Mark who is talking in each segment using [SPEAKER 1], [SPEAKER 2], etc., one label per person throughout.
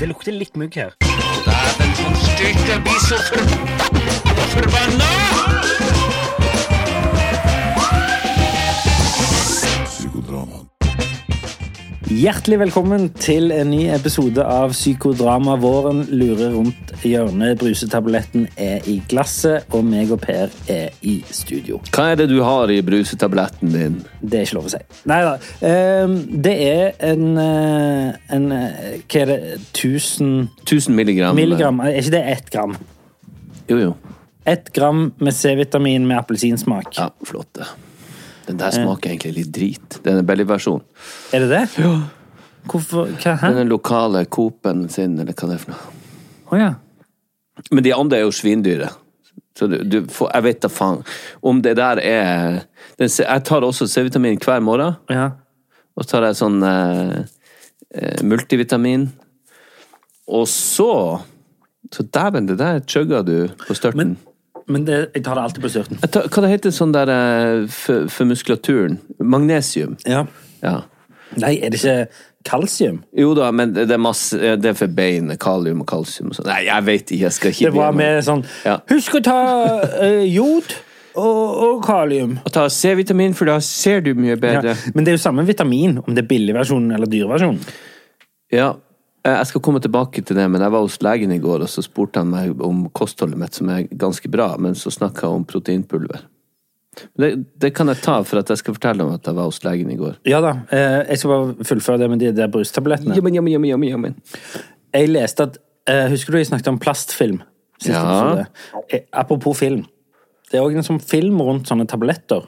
[SPEAKER 1] Det lukter litt mugg her.
[SPEAKER 2] Dæven, sånn styrt. Jeg blir så for... forbanna!
[SPEAKER 1] Hjertelig velkommen til en ny episode av Psykodrama. Våren lurer rundt hjørnet. Brusetabletten er i glasset, og meg og Per er i studio.
[SPEAKER 3] Hva er det du har i brusetabletten din?
[SPEAKER 1] Det er ikke lov å si. Nei da. ehm, Det er en, eh, en eh, Hva er det 1000
[SPEAKER 3] 1000 milligram.
[SPEAKER 1] milligram? Er ikke det ett gram?
[SPEAKER 3] Jo, jo.
[SPEAKER 1] Ett gram med C-vitamin med appelsinsmak.
[SPEAKER 3] Ja, flott det. Den der smaker egentlig litt drit. Det er en bellyversjon.
[SPEAKER 1] Er det det? Ja. Hvorfor Hva? Hæ?
[SPEAKER 3] Den er lokale Coop-en sin, eller hva det er for noe.
[SPEAKER 1] Å ja.
[SPEAKER 3] Men de andre er jo svindyre. Så du, du får, jeg vet da faen om det der er den, se- Jeg tar også C-vitamin hver morgen,
[SPEAKER 1] ja.
[SPEAKER 3] og så tar jeg sånn eh, eh, multivitamin. Og så Så dæven, det der chugga du på størten.
[SPEAKER 1] Men, men det, jeg tar det alltid på størten.
[SPEAKER 3] Jeg tar, hva det heter sånn der eh, for, for muskulaturen? Magnesium.
[SPEAKER 1] Ja.
[SPEAKER 3] Ja.
[SPEAKER 1] Nei, er det ikke kalsium?
[SPEAKER 3] Jo da, men det det er, masse, det er for bein, kalium og kalsium og sånn. Nei, jeg vet ikke, jeg skal ikke
[SPEAKER 1] Det var
[SPEAKER 3] begynne.
[SPEAKER 1] med sånn
[SPEAKER 3] Ja.
[SPEAKER 1] Husk å ta eh, jod og, og kalium.
[SPEAKER 3] Og ta C-vitamin, for da ser du mye
[SPEAKER 1] Ja.
[SPEAKER 3] bedre.
[SPEAKER 1] Men det er jo samme vitamin, om det er billigversjonen eller dyrversjonen.
[SPEAKER 3] Ja. Eh, Jeg skal komme tilbake til det, men jeg var hos legen i går, og så spurte han meg om kostholdet mitt, som er ganske bra, men så snakka jeg om proteinpulver. Det, det kan jeg ta, for at jeg skal fortelle om at jeg var hos legen i går.
[SPEAKER 1] Ja da, eh, jeg skal bare fullføre det med de der brustablettene.
[SPEAKER 3] Jamen, jamen, jamen, jamen, jamen.
[SPEAKER 1] Jeg leste at eh, Husker du jeg snakket om plastfilm? Siste
[SPEAKER 3] Ja.
[SPEAKER 1] episode. Eh, Apropos film. Det er òg en sånn film rundt sånne tabletter.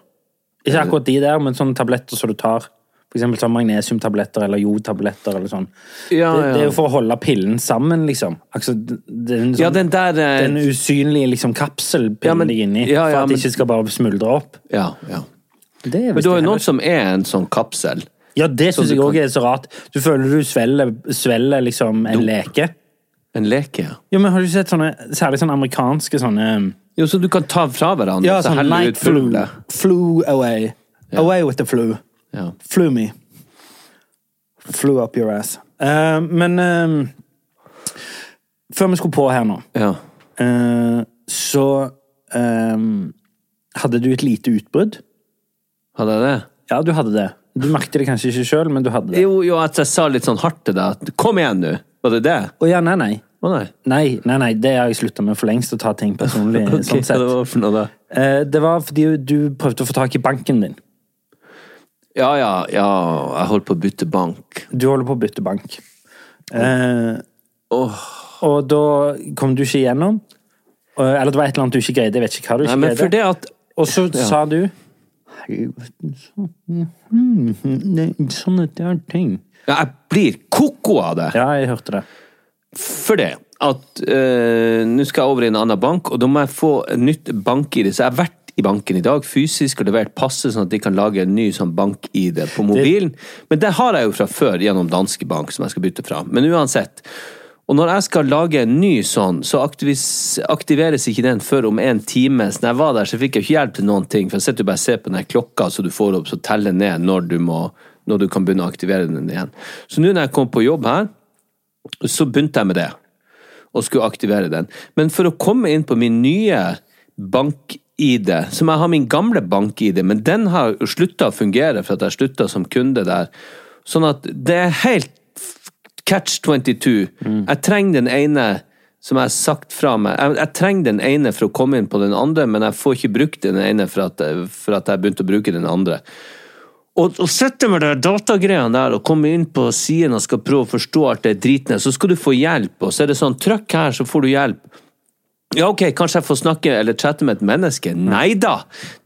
[SPEAKER 1] Ikke akkurat de der, men sånne tabletter som du tar. For eksempel sånn magnesiumtabletter eller jodtabletter eller sånn.
[SPEAKER 3] Ja,
[SPEAKER 1] det, det er
[SPEAKER 3] ja.
[SPEAKER 1] jo for å holde pillen sammen, liksom. Altså, det, det er en sånn,
[SPEAKER 3] Ja, den der eh,
[SPEAKER 1] den usynlige liksom,
[SPEAKER 3] Ja,
[SPEAKER 1] kapselpillen
[SPEAKER 3] men-
[SPEAKER 1] de er inni,
[SPEAKER 3] ja, ja,
[SPEAKER 1] for at
[SPEAKER 3] men-
[SPEAKER 1] det ikke skal bare smuldre opp.
[SPEAKER 3] Ja, ja.
[SPEAKER 1] Det er
[SPEAKER 3] Men
[SPEAKER 1] visst
[SPEAKER 3] du har jo
[SPEAKER 1] det
[SPEAKER 3] noen som er en sånn kapsel.
[SPEAKER 1] Ja, det syns
[SPEAKER 3] du
[SPEAKER 1] jeg
[SPEAKER 3] kan-
[SPEAKER 1] òg er så rart. Du føler du svelger, svelger liksom en leke.
[SPEAKER 3] En leke, ja.
[SPEAKER 1] Jo, men Har du sett sånne, særlig sånne amerikanske sånne
[SPEAKER 3] Jo, som du kan ta fra hverandre.
[SPEAKER 1] Ja,
[SPEAKER 3] og så
[SPEAKER 1] sånn
[SPEAKER 3] helle
[SPEAKER 1] night
[SPEAKER 3] ut
[SPEAKER 1] flu.
[SPEAKER 3] fulle.
[SPEAKER 1] Flew away. Away with the flu.
[SPEAKER 3] Ja.
[SPEAKER 1] Flew me. Flew up your ass. Eh, men eh, Før vi skulle på her nå
[SPEAKER 3] ja.
[SPEAKER 1] Eh, så ehm, hadde du et lite utbrudd.
[SPEAKER 3] Hadde jeg det?
[SPEAKER 1] Ja, du hadde det. Du merket det kanskje ikke sjøl, men du hadde det.
[SPEAKER 3] Jo, jo, at jeg sa litt sånn hardt til deg at kom igjen nå! Var det det?
[SPEAKER 1] Å ja, nei, nei.
[SPEAKER 3] Å nei.
[SPEAKER 1] Nei, nei, nei, det har jeg slutta med for lengst, å ta ting personlig.
[SPEAKER 3] Ok,
[SPEAKER 1] sånn
[SPEAKER 3] hva
[SPEAKER 1] sett.
[SPEAKER 3] det var for noe da?
[SPEAKER 1] Eh, det var fordi du prøvde å få tak i banken din.
[SPEAKER 3] Ja, ja, ja, jeg holdt på å bytte bank.
[SPEAKER 1] Du holder på å bytte bank. Eh,
[SPEAKER 3] Åh.
[SPEAKER 1] Og da kom du ikke igjennom. Eh, Eller det var et eller annet du ikke greide. Jeg vet ikke hva du
[SPEAKER 3] Nei,
[SPEAKER 1] ikke
[SPEAKER 3] men for
[SPEAKER 1] greide.
[SPEAKER 3] det at
[SPEAKER 1] Og så
[SPEAKER 3] Ja.
[SPEAKER 1] sa du Herregud, sånn- Sånne der ting.
[SPEAKER 3] ja, Jeg blir koko av det!
[SPEAKER 1] Ja, jeg hørte det.
[SPEAKER 3] For det at eh, nå skal jeg over i en annen bank, og da må jeg få et nytt bank-ID. Så jeg har vært i banken i dag fysisk og levert passet, sånn at de kan lage en ny sånn bank-ID på mobilen. Men det har jeg jo fra før gjennom Danske Bank, som jeg skal bytte fra. Men uansett. Og når jeg skal lage en ny sånn, så aktivis- aktiveres ikke den før om en time. Så når jeg var der, så fikk jeg ikke hjelp til noen ting, for jeg sitter jo bare og ser på den her klokka, så du får opp, så teller ned når du, må, når du kan begynne å aktivere den igjen. Så nå når jeg kom på jobb her, så begynte jeg med det. Og og skulle aktivere den. Men for å komme inn på min nye bank-ID, som jeg har min gamle bank-ID, men den har jo slutta å fungere for at jeg slutta som kunde der. Sånn at det er helt f- catch 22. Jeg trenger den ene som jeg har sagt fra meg. Jeg, jeg trenger den ene for å komme inn på den andre, men jeg får ikke brukt den ene for at, for at jeg begynte å bruke den andre. Og, og sitte med de datagreiene der og komme inn på siden og skal prøve å forstå alt det dritene, så skal du få hjelp, og så er det sånn trykk her, så får du hjelp. Ja, ok, kanskje jeg får snakke eller chatte med et menneske? Nei da!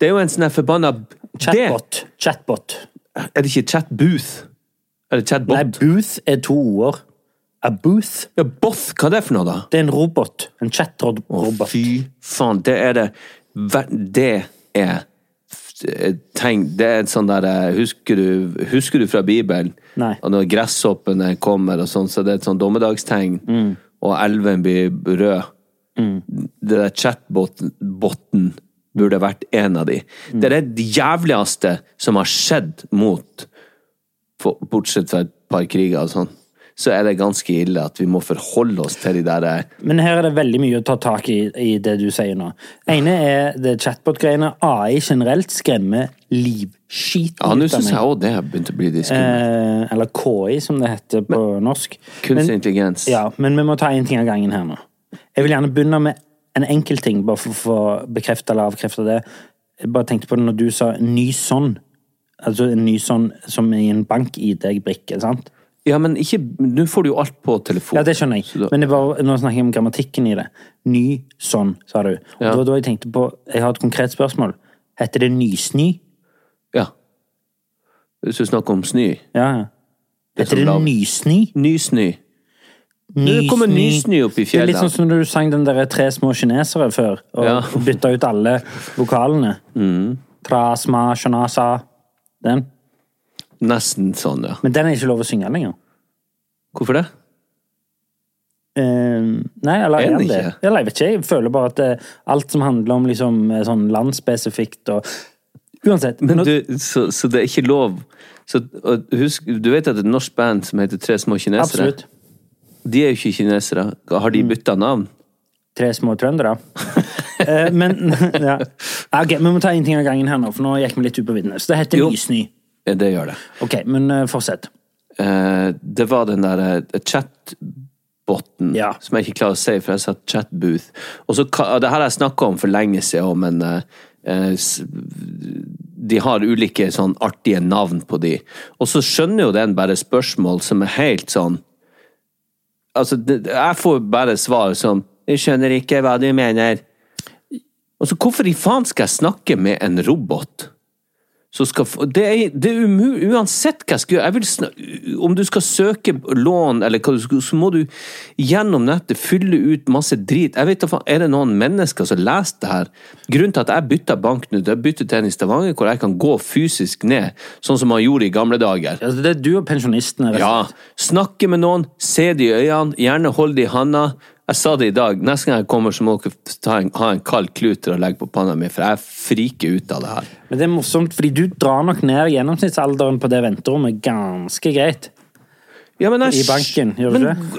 [SPEAKER 3] Det er jo en sånn her forbanna
[SPEAKER 1] Chatbot. Chatbot.
[SPEAKER 3] Det, er det ikke chatbooth? Eller chatbot?
[SPEAKER 1] Nei, booth er to ord. A booth.
[SPEAKER 3] ja, both, hva er det for noe, da?
[SPEAKER 1] Det er en robot. En chatrobot.
[SPEAKER 3] Fy faen, det er det ver- Det er f- eh, Tenk, det er et sånn der eh, Husker du, husker du fra Bibelen?
[SPEAKER 1] Nei.
[SPEAKER 3] Og når gresshoppene kommer og sånn, så det er et sånn dommedagstegn, og elven blir rød. Det der chatboten burde vært en av de. Det er det jævligste som har skjedd mot for, Bortsett fra et par kriger og sånn. Så er det ganske ille at vi må forholde oss til de der eh,
[SPEAKER 1] Men her er det veldig mye å ta tak i i det du sier nå. ene er det chatbot-greiene. AI generelt skremmer livskiten
[SPEAKER 3] Ja,
[SPEAKER 1] ut
[SPEAKER 3] nå
[SPEAKER 1] av
[SPEAKER 3] syns jeg
[SPEAKER 1] meg.
[SPEAKER 3] òg det har begynt å bli litt skummelt.
[SPEAKER 1] Eh, eller KI, som det heter på norsk.
[SPEAKER 3] Kunstig
[SPEAKER 1] Men-
[SPEAKER 3] intelligens.
[SPEAKER 1] Ja, men vi må ta én ting av gangen her nå. Jeg vil gjerne begynne med en enkel ting, bare for å få bekrefta eller avkrefta det. Jeg bare tenkte på det når du sa ny sånn. Altså en ny sånn som i en bank-ID-brikke, sant?
[SPEAKER 3] Ja, men ikke Nå får du jo alt på telefon.
[SPEAKER 1] Ja, det skjønner jeg.
[SPEAKER 3] Så da-
[SPEAKER 1] Men det var, nå snakker jeg om grammatikken i det. Ny sånn, sa du. Og
[SPEAKER 3] Ja.
[SPEAKER 1] det var da jeg tenkte på Jeg har et konkret spørsmål. Heter det nysny?
[SPEAKER 3] ja. Hvis du snakker om snø.
[SPEAKER 1] Ja. ja.
[SPEAKER 3] Det er
[SPEAKER 1] Heter
[SPEAKER 3] så
[SPEAKER 1] det
[SPEAKER 3] lav.
[SPEAKER 1] nysny?
[SPEAKER 3] Nysnø. det kommer nysnø opp i
[SPEAKER 1] Det er litt
[SPEAKER 3] fjellet.
[SPEAKER 1] sånn som når du sang den der Tre små kinesere før, og
[SPEAKER 3] Ja. Mm.
[SPEAKER 1] bytta ut alle vokalene. Trasma, shanasa Den.
[SPEAKER 3] Nesten sånn, ja.
[SPEAKER 1] Men den er ikke lov å synge lenger.
[SPEAKER 3] Hvorfor det?
[SPEAKER 1] Eh, nei, eller
[SPEAKER 3] Er
[SPEAKER 1] er
[SPEAKER 3] den
[SPEAKER 1] den det?
[SPEAKER 3] ikke?
[SPEAKER 1] Eller jeg vet ikke, jeg føler bare at eh, alt som handler om liksom, eh, sånn landspesifikt og Uansett.
[SPEAKER 3] Men
[SPEAKER 1] nå-
[SPEAKER 3] du, så, så det er ikke lov så, og husk, Du vet at et norsk band som heter Tre små kinesere
[SPEAKER 1] absolutt. Mm.
[SPEAKER 3] De er jo ikke kinesere. Har de bytta navn?
[SPEAKER 1] Tre små trøndere. Eh, men ja. Ja, Ok, vi må ta en ting av gangen her nå, for nå gikk vi litt ut på viddene. Så det heter
[SPEAKER 3] Jo.
[SPEAKER 1] nysnø.
[SPEAKER 3] Ja, det gjør det.
[SPEAKER 1] Ok, men eh, fortsett.
[SPEAKER 3] Eh, det var den der eh, chatboten
[SPEAKER 1] Ja.
[SPEAKER 3] som jeg ikke klarer å si, for jeg sa chatbooth. Og så, ka- det her har jeg snakka om for lenge siden, også, men eh, eh, s- de har ulike sånn artige navn på de. Og så skjønner jo den bare spørsmål som er helt sånn Altså, det, jeg får bare svar som 'Jeg skjønner ikke hva du mener'. Og så hvorfor i faen skal jeg snakke med en robot? som skal få Det er, det er umulig Uansett hva jeg skal gjøre jeg vil snak- Om du skal søke lån, eller hva du skal, så må du gjennom nettet fylle ut masse drit. Jeg vet da faen, Er det noen mennesker som leser det her? Grunnen til at jeg bytta bank nå, det er jeg byttet til en i Stavanger hvor jeg kan gå fysisk ned, sånn som man gjorde i gamle dager.
[SPEAKER 1] Altså, det er du og pensjonistene. rett og
[SPEAKER 3] Ja. Snakke med noen, se det i øynene, gjerne hold det i handa. Jeg sa det i dag, neste gang jeg kommer, så må dere ta en, ha en kald klut til å legge på panna mi, for jeg friker ut av det her.
[SPEAKER 1] Men det er morsomt, fordi du drar nok ned gjennomsnittsalderen på det venterommet ganske greit.
[SPEAKER 3] Ja, men jeg,
[SPEAKER 1] I banken, gjør du
[SPEAKER 3] men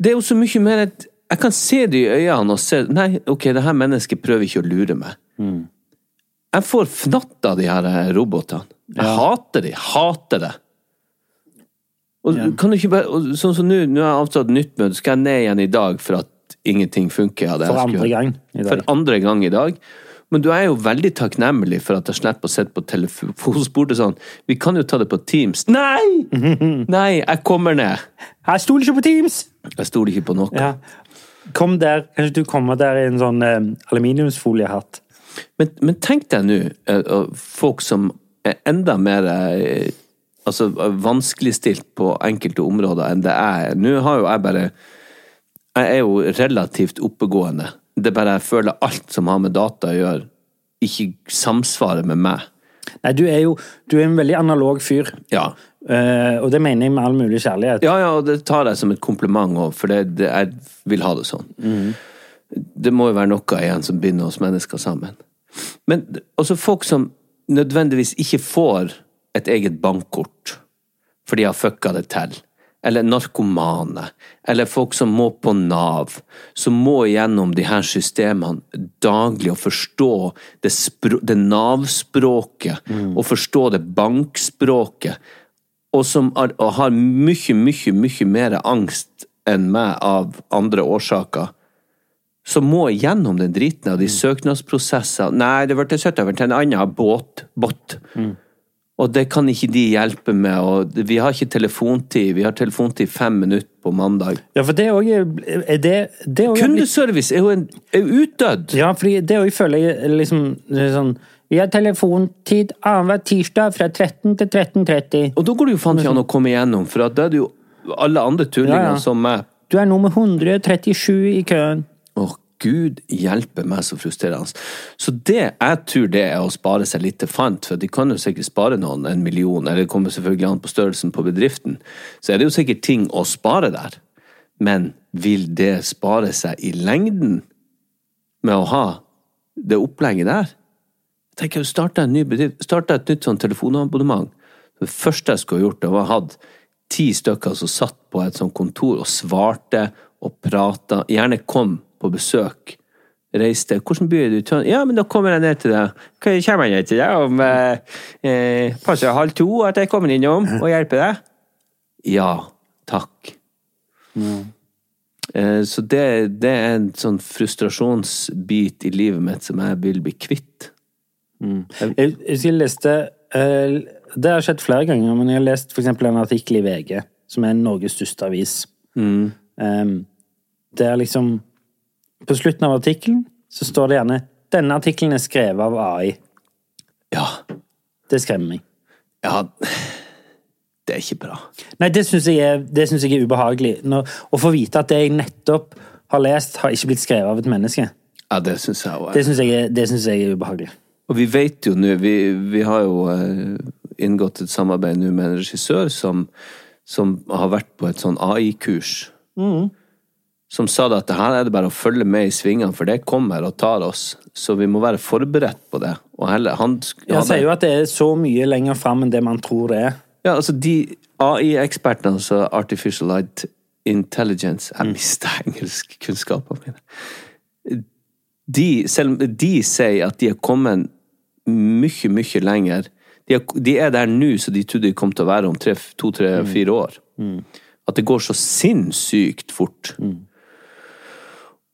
[SPEAKER 3] Det er jo så mye mer at jeg kan se det i øynene og se Nei, ok, det her mennesket prøver ikke å lure meg.
[SPEAKER 1] Mm.
[SPEAKER 3] Jeg får fnatt av de her eh, robotene. Jeg hater de. Hater det. Og kan du ikke bare og Sånn som nå, nå har jeg avtalt nytt møte, skal jeg ned igjen i dag for at ingenting funker. av det jeg
[SPEAKER 1] For
[SPEAKER 3] skulle
[SPEAKER 1] andre
[SPEAKER 3] gjøre.
[SPEAKER 1] gang i dag.
[SPEAKER 3] For andre gang i dag. Men du er jo veldig takknemlig for at jeg slipper å sitte på telefonsporet sånn Vi kan jo ta det på Teams. Nei! Nei, jeg kommer ned.
[SPEAKER 1] Jeg stoler ikke på Teams!
[SPEAKER 3] Jeg stoler ikke på noe.
[SPEAKER 1] Ja. Kom der. Kanskje du kommer der i en sånn eh, aluminiumsfoliehatt.
[SPEAKER 3] Men, men tenk deg nå eh, og folk som er enda mer eh, altså, vanskeligstilt på enkelte områder enn det jeg er. Nå har jo jeg bare Jeg er jo relativt oppegående. Det er bare jeg føler alt som har med data å gjøre, ikke samsvarer med meg.
[SPEAKER 1] Nei, du er jo du er en veldig analog fyr.
[SPEAKER 3] Ja.
[SPEAKER 1] Eh, og det mener jeg med all mulig kjærlighet.
[SPEAKER 3] Ja, ja, og det tar jeg som et kompliment òg, for det, det, jeg vil ha det sånn. Det må jo være noe igjen som binder oss mennesker sammen. Men også folk som nødvendigvis ikke får et eget bankkort, for de har fucka det til. eller narkomane, eller folk som må på Nav, som må gjennom de her systemene daglig og forstå det, spro- det Nav-språket, og forstå det bankspråket, og som har, og har mye, mye, mye mer angst enn meg av andre årsaker, som må gjennom den driten
[SPEAKER 1] Mm.
[SPEAKER 3] av de søknadsprosesser. Nei, det ble søkt over til en annen båt. båt.
[SPEAKER 1] Mm.
[SPEAKER 3] Og det kan ikke de hjelpe med. Og vi har ikke telefontid. Vi har telefontid fem minutter på mandag.
[SPEAKER 1] Ja, for det òg er eh, er det, det er også blitt-
[SPEAKER 3] Kundeservice er jo en, er jo utdødd!
[SPEAKER 1] Ja, fordi det òg føler jeg er liksom det er sånn Vi har telefontid annenhver tirsdag fra 13 til 13.30.
[SPEAKER 3] Og da går det jo faen ikke an å komme igjennom, for at da er det jo alle andre tullinger
[SPEAKER 1] Ja, ja.
[SPEAKER 3] som meg.
[SPEAKER 1] Du er nummer 137 i køen.
[SPEAKER 3] Å, gud hjelpe meg så frustrerende. Så det, jeg tror det er å spare seg litt til fant, for de kan jo sikkert spare noen en million, eller det kommer selvfølgelig an på størrelsen på bedriften, så er det jo sikkert ting å spare der. Men vil det spare seg i lengden med å ha det opplegget der? Jeg tenker å starte en ny bedrift, starte et nytt sånn telefonabonnement. Det første jeg skulle ha gjort, det var å ha hatt ti stykker som satt på et sånt kontor og svarte og prata, gjerne kom på besøk. Reiste. Hvordan by er du? i Trond- Ja, men da kommer jeg ned til deg. Hva kommer jeg ned til deg om eh, eh, passer halv to at jeg kommer innom og hjelper deg? Ja, takk. Eh, Så det, det er en sånn frustrasjonsbit i livet mitt som jeg vil bli kvitt.
[SPEAKER 1] Jeg, jeg husker jeg leste eh, Det har skjedd flere ganger, men jeg har lest for eksempel en artikkel i VG, som er Norges største avis. Mm. Em, det er liksom På slutten av artikkelen så står det gjerne 'Denne artikkelen er skrevet av AI'.
[SPEAKER 3] Ja.
[SPEAKER 1] Det skremmer meg.
[SPEAKER 3] Ja Det er ikke bra.
[SPEAKER 1] Nei, det syns jeg, er- det synes jeg er ubehagelig. Når, å få vite at det jeg nettopp har lest, har ikke blitt skrevet av et menneske.
[SPEAKER 3] Ja, det syns jeg òg.
[SPEAKER 1] Det syns jeg, er- det synes jeg er ubehagelig.
[SPEAKER 3] Og vi vet jo nå vi, vi har jo eh, inngått et samarbeid nå med en regissør som, som har vært på et sånn AI-kurs. Som sa det at det her er det bare å følge med i svingene, for det kommer og tar oss. Så vi må være forberedt på det. Og heller, han,
[SPEAKER 1] Han sier jo at det er så mye lenger fram enn det man tror det er.
[SPEAKER 3] Ja, altså de AI-ekspertene, altså Artificial Light Intelligence Jeg mista engelskkunnskapene mine. De, selv om de sier at de har kommet mye, mye lenger De er, de er der nå som de trodde de kom til å være om tre, to, tre, fire år. At det går så sinnssykt fort.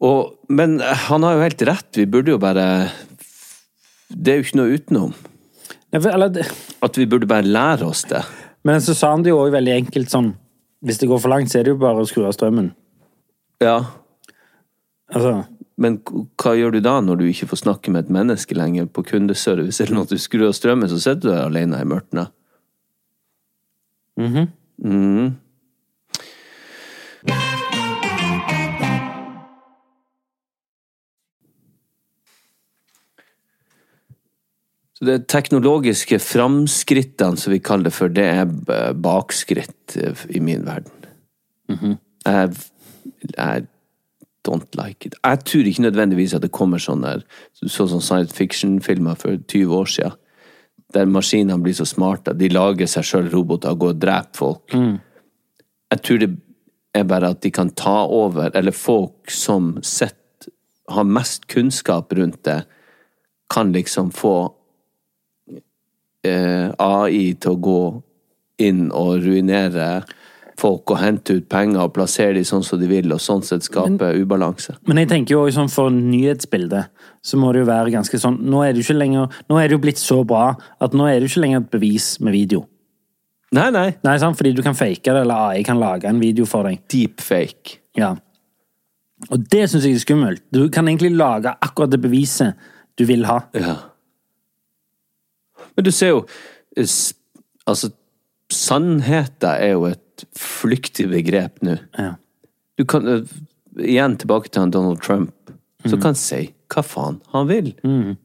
[SPEAKER 3] Og, men eh, han har jo helt rett. Vi burde jo bare Det er jo ikke noe utenom.
[SPEAKER 1] Nei, for- Eller, det-
[SPEAKER 3] At vi burde bare lære oss det.
[SPEAKER 1] men så sa han det jo òg veldig enkelt sånn Hvis det går for langt, så er det jo bare å skru av strømmen.
[SPEAKER 3] Ja,
[SPEAKER 1] Altså,
[SPEAKER 3] Men k- hva gjør du da når du ikke får snakke med et menneske lenger på kundeservice, eller når du skrur av strømmen, så sitter du der alene i mørket? Mhm. Så det teknologiske framskrittene, som vi kaller det for, det er b- bakskritt eh, i min verden. jeg, jeg don't like it. Jeg tror ikke nødvendigvis at det kommer sånn der, sånn som science fiction-filmer for 20 år siden, der maskinene blir så smarte at de lager seg sjøl roboter og går og dreper folk. Jeg tror det er bare at de kan ta over, eller folk som sett, har mest kunnskap rundt det, kan liksom få eh, AI til å gå inn og ruinere folk og hente ut penger og plassere dem sånn som de vil, og sånn sett skape ubalanse.
[SPEAKER 1] Men jeg tenker jo også sånn for nyhetsbildet, så må det jo være ganske sånn Nå er det jo ikke lenger Nå er det jo blitt så bra at nå er det jo ikke lenger et bevis med video.
[SPEAKER 3] Nei, nei.
[SPEAKER 1] Nei, sant? Fordi du kan fake det, eller AI kan lage en video for deg.
[SPEAKER 3] Deepfake.
[SPEAKER 1] Ja. Og det syns jeg er skummelt. Du kan egentlig lage akkurat det beviset du vil ha.
[SPEAKER 3] Ja. Men du ser jo eh, s- Altså, sannheten er jo et flyktig begrep nå.
[SPEAKER 1] Ja.
[SPEAKER 3] Du kan eh, Igjen tilbake til han Donald Trump,
[SPEAKER 1] Mhm.
[SPEAKER 3] som kan si hva faen han vil.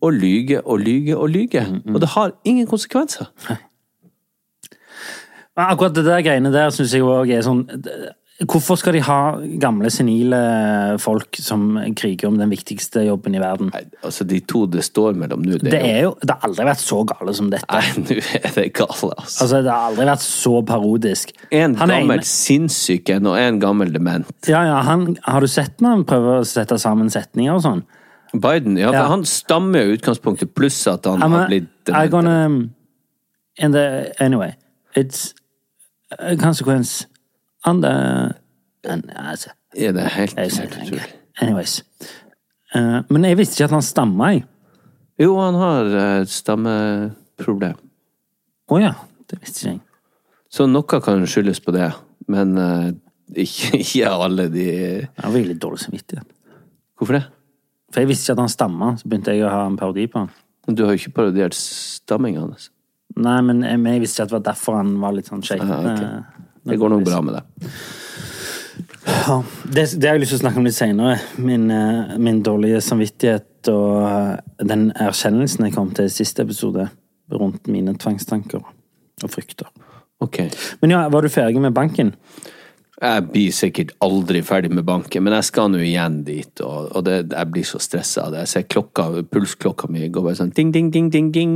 [SPEAKER 3] Og lyge og lyge og lyge.
[SPEAKER 1] Mhm,
[SPEAKER 3] Og det har ingen konsekvenser.
[SPEAKER 1] Men akkurat det der greiene der syns jeg òg er sånn Hvorfor skal de ha gamle, senile folk som kriger om den viktigste jobben i verden?
[SPEAKER 3] Nei, altså, de to det står mellom nå,
[SPEAKER 1] Det er jo, det har aldri vært så gale som dette.
[SPEAKER 3] Nei, nå er det gale, altså.
[SPEAKER 1] Altså, Det har aldri vært så parodisk.
[SPEAKER 3] En
[SPEAKER 1] Han er
[SPEAKER 3] gammel
[SPEAKER 1] ene-
[SPEAKER 3] sinnssyk en, og en gammel dement.
[SPEAKER 1] Ja, ja, han, Har du sett når han prøver å sette sammen setninger og sånn?
[SPEAKER 3] Biden, ja, for
[SPEAKER 1] Ja.
[SPEAKER 3] han stammer jo i utgangspunktet, pluss at han
[SPEAKER 1] I'm,
[SPEAKER 3] har
[SPEAKER 1] a,
[SPEAKER 3] blitt
[SPEAKER 1] I'm
[SPEAKER 3] dement.
[SPEAKER 1] gonna um, in the, Anyway, it's a consequence on the and, altså,
[SPEAKER 3] Ja, det er helt,
[SPEAKER 1] jeg
[SPEAKER 3] helt
[SPEAKER 1] ser det
[SPEAKER 3] utrolig.
[SPEAKER 1] ikke. Anyways. Eh, men jeg visste ikke at han stamma, jeg.
[SPEAKER 3] Jo, han har eh, stammeproblem.
[SPEAKER 1] Å ja. Det visste ikke jeg.
[SPEAKER 3] Så noe kan skyldes på det, men eh, ikke, ikke alle de
[SPEAKER 1] Jeg har veldig dårlig samvittighet.
[SPEAKER 3] Hvorfor det?
[SPEAKER 1] For jeg visste ikke at han stamma, så begynte jeg å ha en parodi på han.
[SPEAKER 3] Du har jo ikke parodiert stamminga hans.
[SPEAKER 1] Nei, men, jeg- men jeg visste ikke at det var derfor han var litt sånn shaken.
[SPEAKER 3] Ah, ok.
[SPEAKER 1] eh,
[SPEAKER 3] Det går nok bra med det.
[SPEAKER 1] Det, det har jeg lyst til å snakke om litt senere. Min, eh, min dårlige samvittighet og eh, den erkjennelsen jeg kom til i siste episode rundt mine tvangstanker og frykter.
[SPEAKER 3] Ok.
[SPEAKER 1] Men ja, var du ferdig med banken?
[SPEAKER 3] Jeg blir sikkert aldri ferdig med banken, men jeg skal nå igjen dit, og, og det, jeg blir så stressa av det. Jeg ser klokka, pulsklokka mi går bare sånn ding, ding, ding, ding, ding.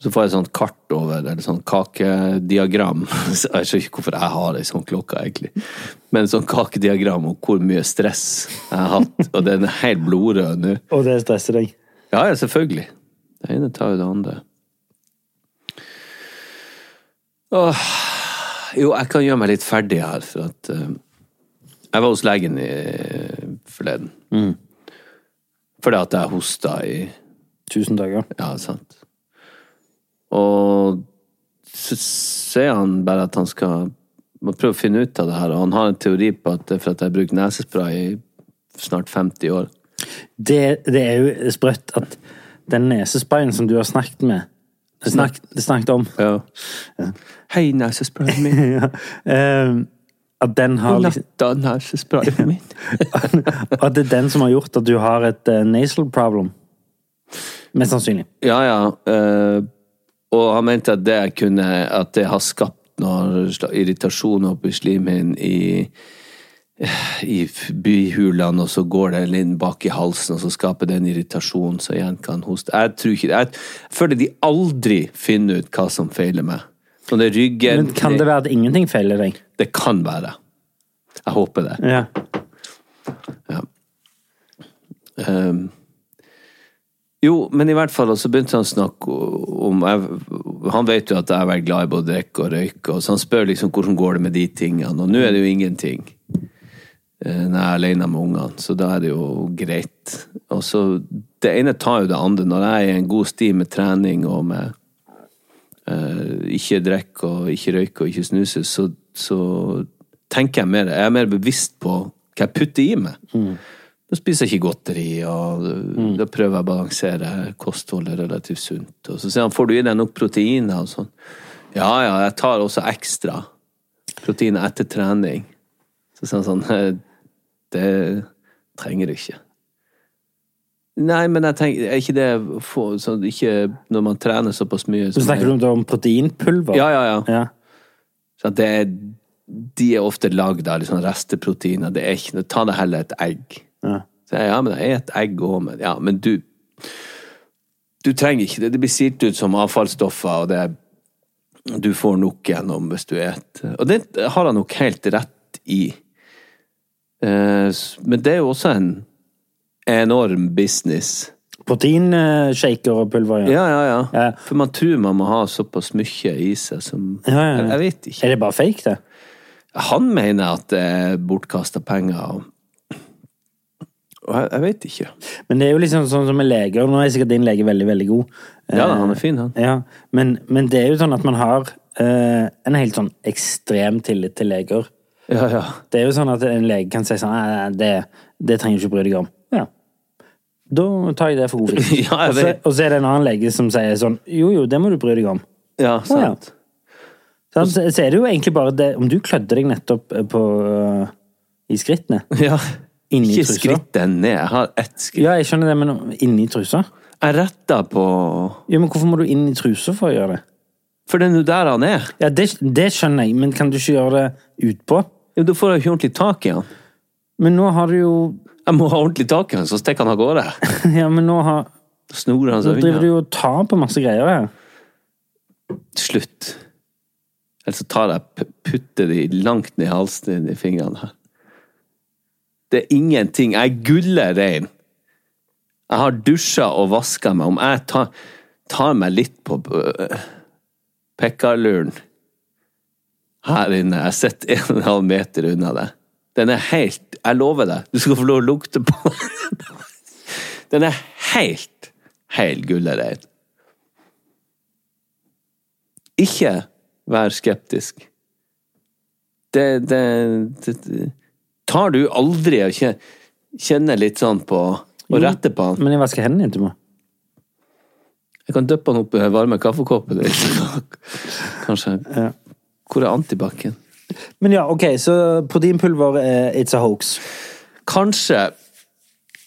[SPEAKER 3] Så får jeg sånn kart over, eller sånn kakediagram. Så jeg skjønner ikke hvorfor jeg har ei sånn klokke, egentlig. Men sånn kakediagram om hvor mye stress jeg har hatt, og den er helt blodrød nå.
[SPEAKER 1] Og det stresser deg?
[SPEAKER 3] Ja, ja, selvfølgelig. Det ene tar jo det andre. Åh, jo, jeg kan gjøre meg litt ferdig her, for at eh, Jeg var hos legen i, forleden. Fordi at jeg hosta i
[SPEAKER 1] Tusen dager.
[SPEAKER 3] Ja, sant. Og så sier han bare at han skal må prøve å finne ut av det her, og han har en teori på at det er for at jeg har brukt nesespray i snart 50 år.
[SPEAKER 1] Det, det er jo sprøtt at den nesesprayen som du har snakket med Snakket, snakket om.
[SPEAKER 3] Ja. Hei, nesesprayen min.
[SPEAKER 1] eh, at den har liksom,
[SPEAKER 3] Latta nesesprayen min.
[SPEAKER 1] At det er den som har gjort at du har et eh, nasal problem. Mest sannsynlig.
[SPEAKER 3] Ja, ja. eh, og han mente at det kunne At det har skapt noe sla- irritasjon oppi slimhinnen i i f- byhulene, og så går det litt bak i halsen, og så skaper det en irritasjon, så igjen kan hoste. Jeg tror ikke det. Jeg føler de aldri finner ut hva som feiler meg. Om det er ryggen
[SPEAKER 1] Men kan det være at ingenting feiler deg?
[SPEAKER 3] det kan være. Jeg håper det.
[SPEAKER 1] Ja.
[SPEAKER 3] Ehm, jo, men i hvert fall, og så begynte han å snakke om jeg, Han vet jo at jeg er veldig glad i både å drikke og røyke, og så han spør liksom hvordan går det med de tingene, og nå er det jo ingenting. eh, Når jeg er alene med ungene, så da er det jo greit. Og så Det ene tar jo det andre. Når jeg er i en god sti med trening og med eh, ikke drikke og ikke røyke og ikke snuse, så, så tenker jeg mer. Jeg er mer bevisst på hva jeg putter i meg.
[SPEAKER 1] Mm.
[SPEAKER 3] Da spiser jeg ikke godteri, og da prøver jeg å balansere kostholdet relativt sunt. Og så sier han får du i deg nok proteiner og sånn. Ja ja, jeg tar også ekstra proteiner etter trening. Så sier han sånn «Eh, Det trenger du ikke. Nei, men jeg tenker, er ikke det for, sånn, ikke Når man trener såpass mye
[SPEAKER 1] Så
[SPEAKER 3] som jeg-
[SPEAKER 1] snakker du om, da om proteinpulver?
[SPEAKER 3] ja, ja, ja.
[SPEAKER 1] Ja.
[SPEAKER 3] Så at det er, de er ofte lagd av liksom resteproteiner. Det er ikke noe Ta deg heller et egg.
[SPEAKER 1] Ja.
[SPEAKER 3] Så jeg, ja, men jeg er et egg òg, men Ja, men du Du trenger ikke det. Det blir silt ut som avfallsstoffer, og det er Du får nok gjennom hvis du spiser. Og det har han nok helt rett i. Eh, s- Men det er jo også en enorm business.
[SPEAKER 1] Proteinshaker og pulver, ja.
[SPEAKER 3] Ja, ja, ja.
[SPEAKER 1] Ja.
[SPEAKER 3] For man tror man må ha såpass mye i seg som
[SPEAKER 1] Ja, ja, ja.
[SPEAKER 3] Jeg, jeg vet ikke.
[SPEAKER 1] Er det bare fake, det?
[SPEAKER 3] Han mener at det er bortkasta penger. og- Og jeg, jeg vet ikke.
[SPEAKER 1] Men det er jo liksom sånn som med leger, og nå er sikkert din lege veldig, veldig god. Eh,
[SPEAKER 3] Ja da, han er fin, han.
[SPEAKER 1] Ja, men, men det er jo sånn at man har eh, en helt sånn ekstrem tillit til leger.
[SPEAKER 3] Ja, ja.
[SPEAKER 1] Det er jo sånn at en lege kan si sånn Nei, nei, det, det trenger du ikke bry deg om. Ja. Da tar jeg det for god fisk.
[SPEAKER 3] Ja, jeg
[SPEAKER 1] og, så-
[SPEAKER 3] vet.
[SPEAKER 1] og så er det en annen lege som sier sånn Jo, jo, det må du bry deg om.
[SPEAKER 3] Ja, sant.
[SPEAKER 1] Så, så så er det jo egentlig bare det Om du klødde deg nettopp eh, på eh, i skrittene
[SPEAKER 3] Ja.
[SPEAKER 1] Inni
[SPEAKER 3] Ikke
[SPEAKER 1] trusa.
[SPEAKER 3] skrittet ned. Jeg har ett skritt.
[SPEAKER 1] Ja, jeg skjønner det, men inni trusa?
[SPEAKER 3] Jeg retta på
[SPEAKER 1] Jo, men hvorfor må du inn i trusa for å gjøre det?
[SPEAKER 3] For det er nå der han er.
[SPEAKER 1] Ja, det, det skjønner jeg, men kan du ikke gjøre det utpå?
[SPEAKER 3] Jo, da får jeg ikke ordentlig tak i han.
[SPEAKER 1] Men nå har du jo
[SPEAKER 3] Jeg må ha ordentlig tak i han, så stikker han av gårde.
[SPEAKER 1] Ja, men nå har
[SPEAKER 3] Så Snorer han
[SPEAKER 1] Nå
[SPEAKER 3] seg
[SPEAKER 1] driver du
[SPEAKER 3] unna.
[SPEAKER 1] jo og tar på masse greier her.
[SPEAKER 3] Slutt. Eller så tar jeg p- putter de langt ned i halsen i de fingrene her. Det er ingenting. Jeg er gullerein. Jeg har dusja og vaska meg. Om jeg tar, tar meg litt på øh, pekkaluren her inne Jeg sitter en og en halv meter unna deg. Den er helt Jeg lover deg, du skal få lov å lukte på den. Den er helt, helt gullerein. Ikke vær skeptisk. Det, det, det, det Tar du aldri å kje- kjenne litt sånn på Å rette på han?
[SPEAKER 1] Men jeg vasker hendene etterpå.
[SPEAKER 3] Jeg kan dyppe han opp i den varme kaffekoppen din. Kanskje. Hvor er antibac-en?
[SPEAKER 1] Men ja, ok, så proteinpulver er eh, it's a hoax.
[SPEAKER 3] Kanskje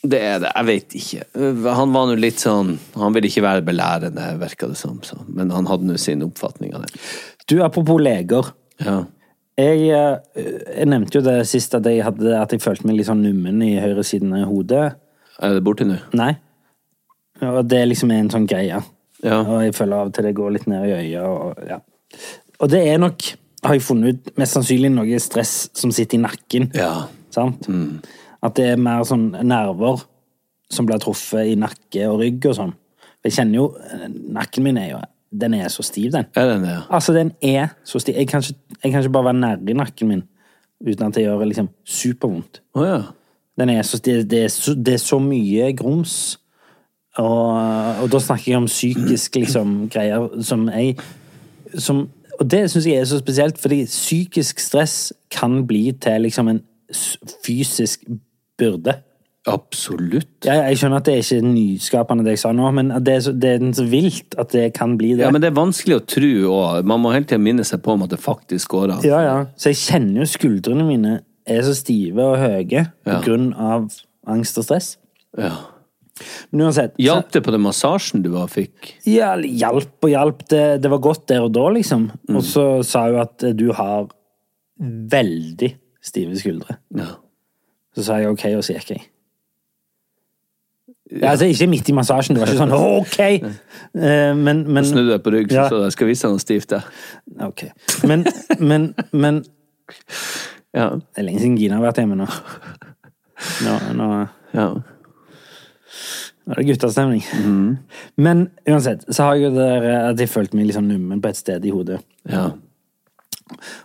[SPEAKER 3] det er det, jeg vet ikke. Han var nå litt sånn Han ville ikke være belærende, virka det som, så. men han hadde nå sin oppfatning av det.
[SPEAKER 1] Du, apropos leger.
[SPEAKER 3] Ja.
[SPEAKER 1] Jeg, eh, jeg nevnte jo det sist at jeg, hadde, at jeg følte meg litt sånn nummen i høyresiden av hodet.
[SPEAKER 3] Er det borte nå?
[SPEAKER 1] Nei. Og det liksom er en sånn greie.
[SPEAKER 3] Ja.
[SPEAKER 1] Og jeg føler av og til det går litt ned i øya. Og, ja. og det er nok, har jeg funnet ut, mest sannsynlig noe stress som sitter i nakken.
[SPEAKER 3] Ja. Mm.
[SPEAKER 1] Sant? At det er mer sånn nerver som blir truffet i nakke og rygg og sånn. Jeg kjenner jo eh, Nakken min er jo Den er så stiv, den.
[SPEAKER 3] Er den det? ja?
[SPEAKER 1] Altså, den er så stiv. Jeg kan ikke, jeg kan ikke bare være nærme i nakken min uten at det gjør liksom supervondt.
[SPEAKER 3] Å ja.
[SPEAKER 1] Den er så, det, det, er så, det er så mye grums. Og, og da snakker jeg om psykisk liksom, greier som jeg som, Og det syns jeg er så spesielt, fordi psykisk stress kan bli til liksom en s- fysisk byrde.
[SPEAKER 3] Absolutt.
[SPEAKER 1] Jeg, jeg skjønner at det er ikke nyskapende, det jeg sa nå, men at det er, så, det er så vilt at det kan bli det.
[SPEAKER 3] Ja, men det er vanskelig å tro òg. Man må hele tiden minne seg på om at det faktisk går an.
[SPEAKER 1] Ja, ja. Så jeg kjenner jo skuldrene mine er så stive og høye på
[SPEAKER 3] Ja.
[SPEAKER 1] grunn av angst og stress.
[SPEAKER 3] Ja.
[SPEAKER 1] Men uansett så-
[SPEAKER 3] Hjalp det på den massasjen du var- fikk?
[SPEAKER 1] Ja, hjelp og hjelp. Det, det var godt der og da, liksom. Og så sa hun at eh, du har veldig stive skuldre.
[SPEAKER 3] Ja.
[SPEAKER 1] Så sa jeg ok, og så gikk jeg. Ja, altså, ikke midt i massasjen, det var ikke sånn ok! Eh, Men, men
[SPEAKER 3] Snudde deg på rygg, så
[SPEAKER 1] Ja.
[SPEAKER 3] sa du, jeg skal vise deg noe stivt. jeg».
[SPEAKER 1] Ok. Men, men, men
[SPEAKER 3] Ja.
[SPEAKER 1] Det er lenge siden Gina har vært hjemme nå. Nå, nå
[SPEAKER 3] ja.
[SPEAKER 1] Nå er det guttastemning. Men uansett, så har jeg jo det der at jeg følte meg liksom nummen på et sted i hodet.
[SPEAKER 3] ja.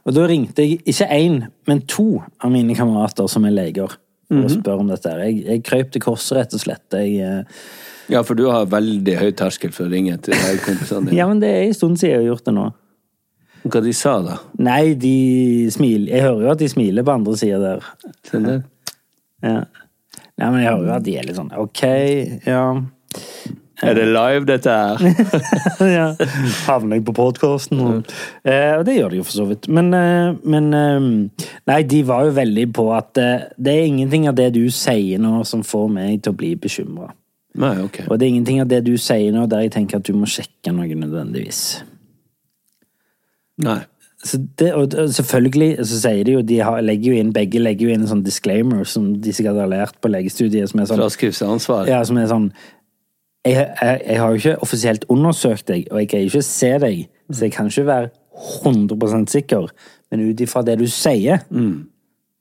[SPEAKER 1] Og da ringte jeg ikke én, men to av mine kamerater som er leger, for å spørre om dette. her. Jeg, jeg krøp til korset, rett og slett. Jeg, eh,
[SPEAKER 3] Ja, for du har veldig høy terskel for å ringe til de her kompisene dine.
[SPEAKER 1] ja, men det er en stund siden jeg har gjort det nå.
[SPEAKER 3] Hva de sa da?
[SPEAKER 1] Nei, de smiler Jeg hører jo at de smiler på andre sida der.
[SPEAKER 3] Den der?
[SPEAKER 1] Ja. Nei, men jeg hører jo at de er litt sånn OK, ja.
[SPEAKER 3] Er det live, dette her?
[SPEAKER 1] ja. Havner jeg på podkasten? Og, eh, og det gjør de jo for så vidt. Men, eh, men eh, Nei, de var jo veldig på at eh, det er ingenting av det du sier nå som får meg til å bli bekymra.
[SPEAKER 3] Nei, ok.
[SPEAKER 1] Og det er ingenting av det du sier nå der jeg tenker at du må sjekke noe nødvendigvis.
[SPEAKER 3] Nei.
[SPEAKER 1] Så det, og og selvfølgelig så sier de jo, de har, legger jo inn, begge legger jo inn en sånn disclaimer som de sikkert har lært på legestudiet, som er sånn
[SPEAKER 3] Fraskriv seg ansvar.
[SPEAKER 1] Ja, som er sånn jeg, jeg, jeg har jo ikke offisielt undersøkt deg, og jeg kan jo ikke se deg, så jeg kan ikke være 100 sikker, men ut ifra det du sier,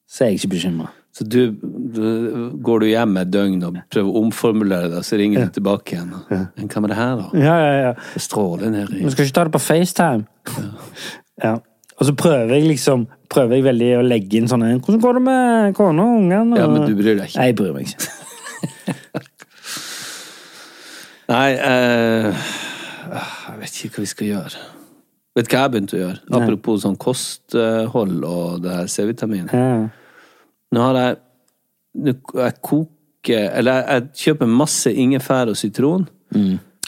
[SPEAKER 1] så er jeg ikke bekymra.
[SPEAKER 3] Så du, du går du hjem et døgn og prøver å omformulere deg, så ringer du tilbake igjen. Men hva med det her, da?
[SPEAKER 1] Ja, ja, ja.
[SPEAKER 3] Det stråler ned i
[SPEAKER 1] Vi skal ikke ta det på FaceTime. Ja. Og så prøver jeg liksom prøver jeg veldig å legge inn sånn en, Hvordan går det med kona og ungene?
[SPEAKER 3] Ja, men du bryr deg ikke.
[SPEAKER 1] Nei, jeg bryr meg ikke.
[SPEAKER 3] Nei, eh, ah, jeg vet ikke hva vi skal gjøre. Vet du hva jeg begynte å gjøre? Apropos sånn kosthold og det her C-vitamin.
[SPEAKER 1] Ja.
[SPEAKER 3] Nå har jeg nå, Jeg koker Eller jeg, jeg kjøper masse ingefær og sitron.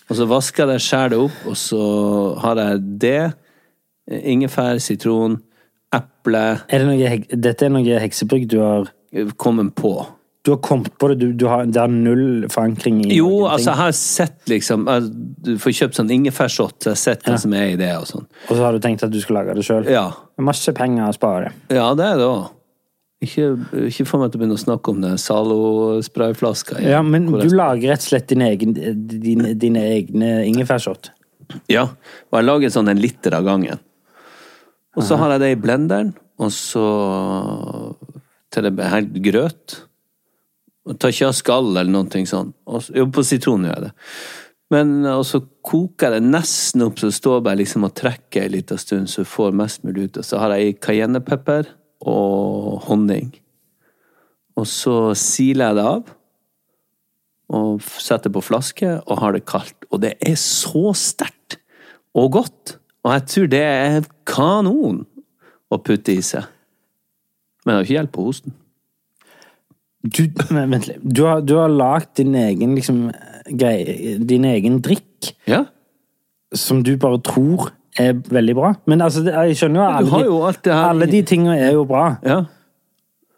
[SPEAKER 3] Og så vasker jeg det, skjærer det opp, og så har jeg det. Ingefær, sitron, eple
[SPEAKER 1] Er det noe, hek- dette er noe heksebrygg du har
[SPEAKER 3] Kommet på.
[SPEAKER 1] Du har kommet på det, du, du har, det har null forankring i
[SPEAKER 3] Jo,
[SPEAKER 1] noen ting.
[SPEAKER 3] altså, jeg har sett liksom jeg, Du får kjøpt sånn ingefærshot, så jeg har sett hva som er i det og sånn.
[SPEAKER 1] Og så har du tenkt at du skal lage det sjøl?
[SPEAKER 3] Ja.
[SPEAKER 1] Masse penger å spare.
[SPEAKER 3] Ja, det er det òg. Ikke, ikke få meg til å begynne å snakke om den Zalo-sprayflaska. igjen.
[SPEAKER 1] Ja, men
[SPEAKER 3] Hvor
[SPEAKER 1] du
[SPEAKER 3] jeg-
[SPEAKER 1] lager rett og slett dine egne, dine, dine egne ingefærshot.
[SPEAKER 3] Ja, og jeg lager sånn en liter av gangen. Og så har jeg det i blenderen, og så til det blir helt grøt. Og tar ikke av skall eller noen ting sånn. Og, så- jo, på sitron gjør jeg det. Men, og så koker jeg det nesten opp, så står jeg bare liksom og trekker en liten stund, så jeg får mest mulig ut. Og så har jeg cayennepepper og honning. Og så siler jeg det av og f- setter på flaske og har det kaldt. Og det er så sterkt og godt. Og jeg tror det er kanon å putte i seg. Men det har ikke hjelp på hosten.
[SPEAKER 1] Du, men, vent litt. Du har, du har lagd din egen liksom, greie, din egen drikk,
[SPEAKER 3] Ja,
[SPEAKER 1] som du bare tror er veldig bra. Men altså, det, jeg skjønner jo at
[SPEAKER 3] Du
[SPEAKER 1] alle,
[SPEAKER 3] har
[SPEAKER 1] de-
[SPEAKER 3] jo alt det her
[SPEAKER 1] alle
[SPEAKER 3] i-
[SPEAKER 1] de tingene er jo bra.
[SPEAKER 3] ja.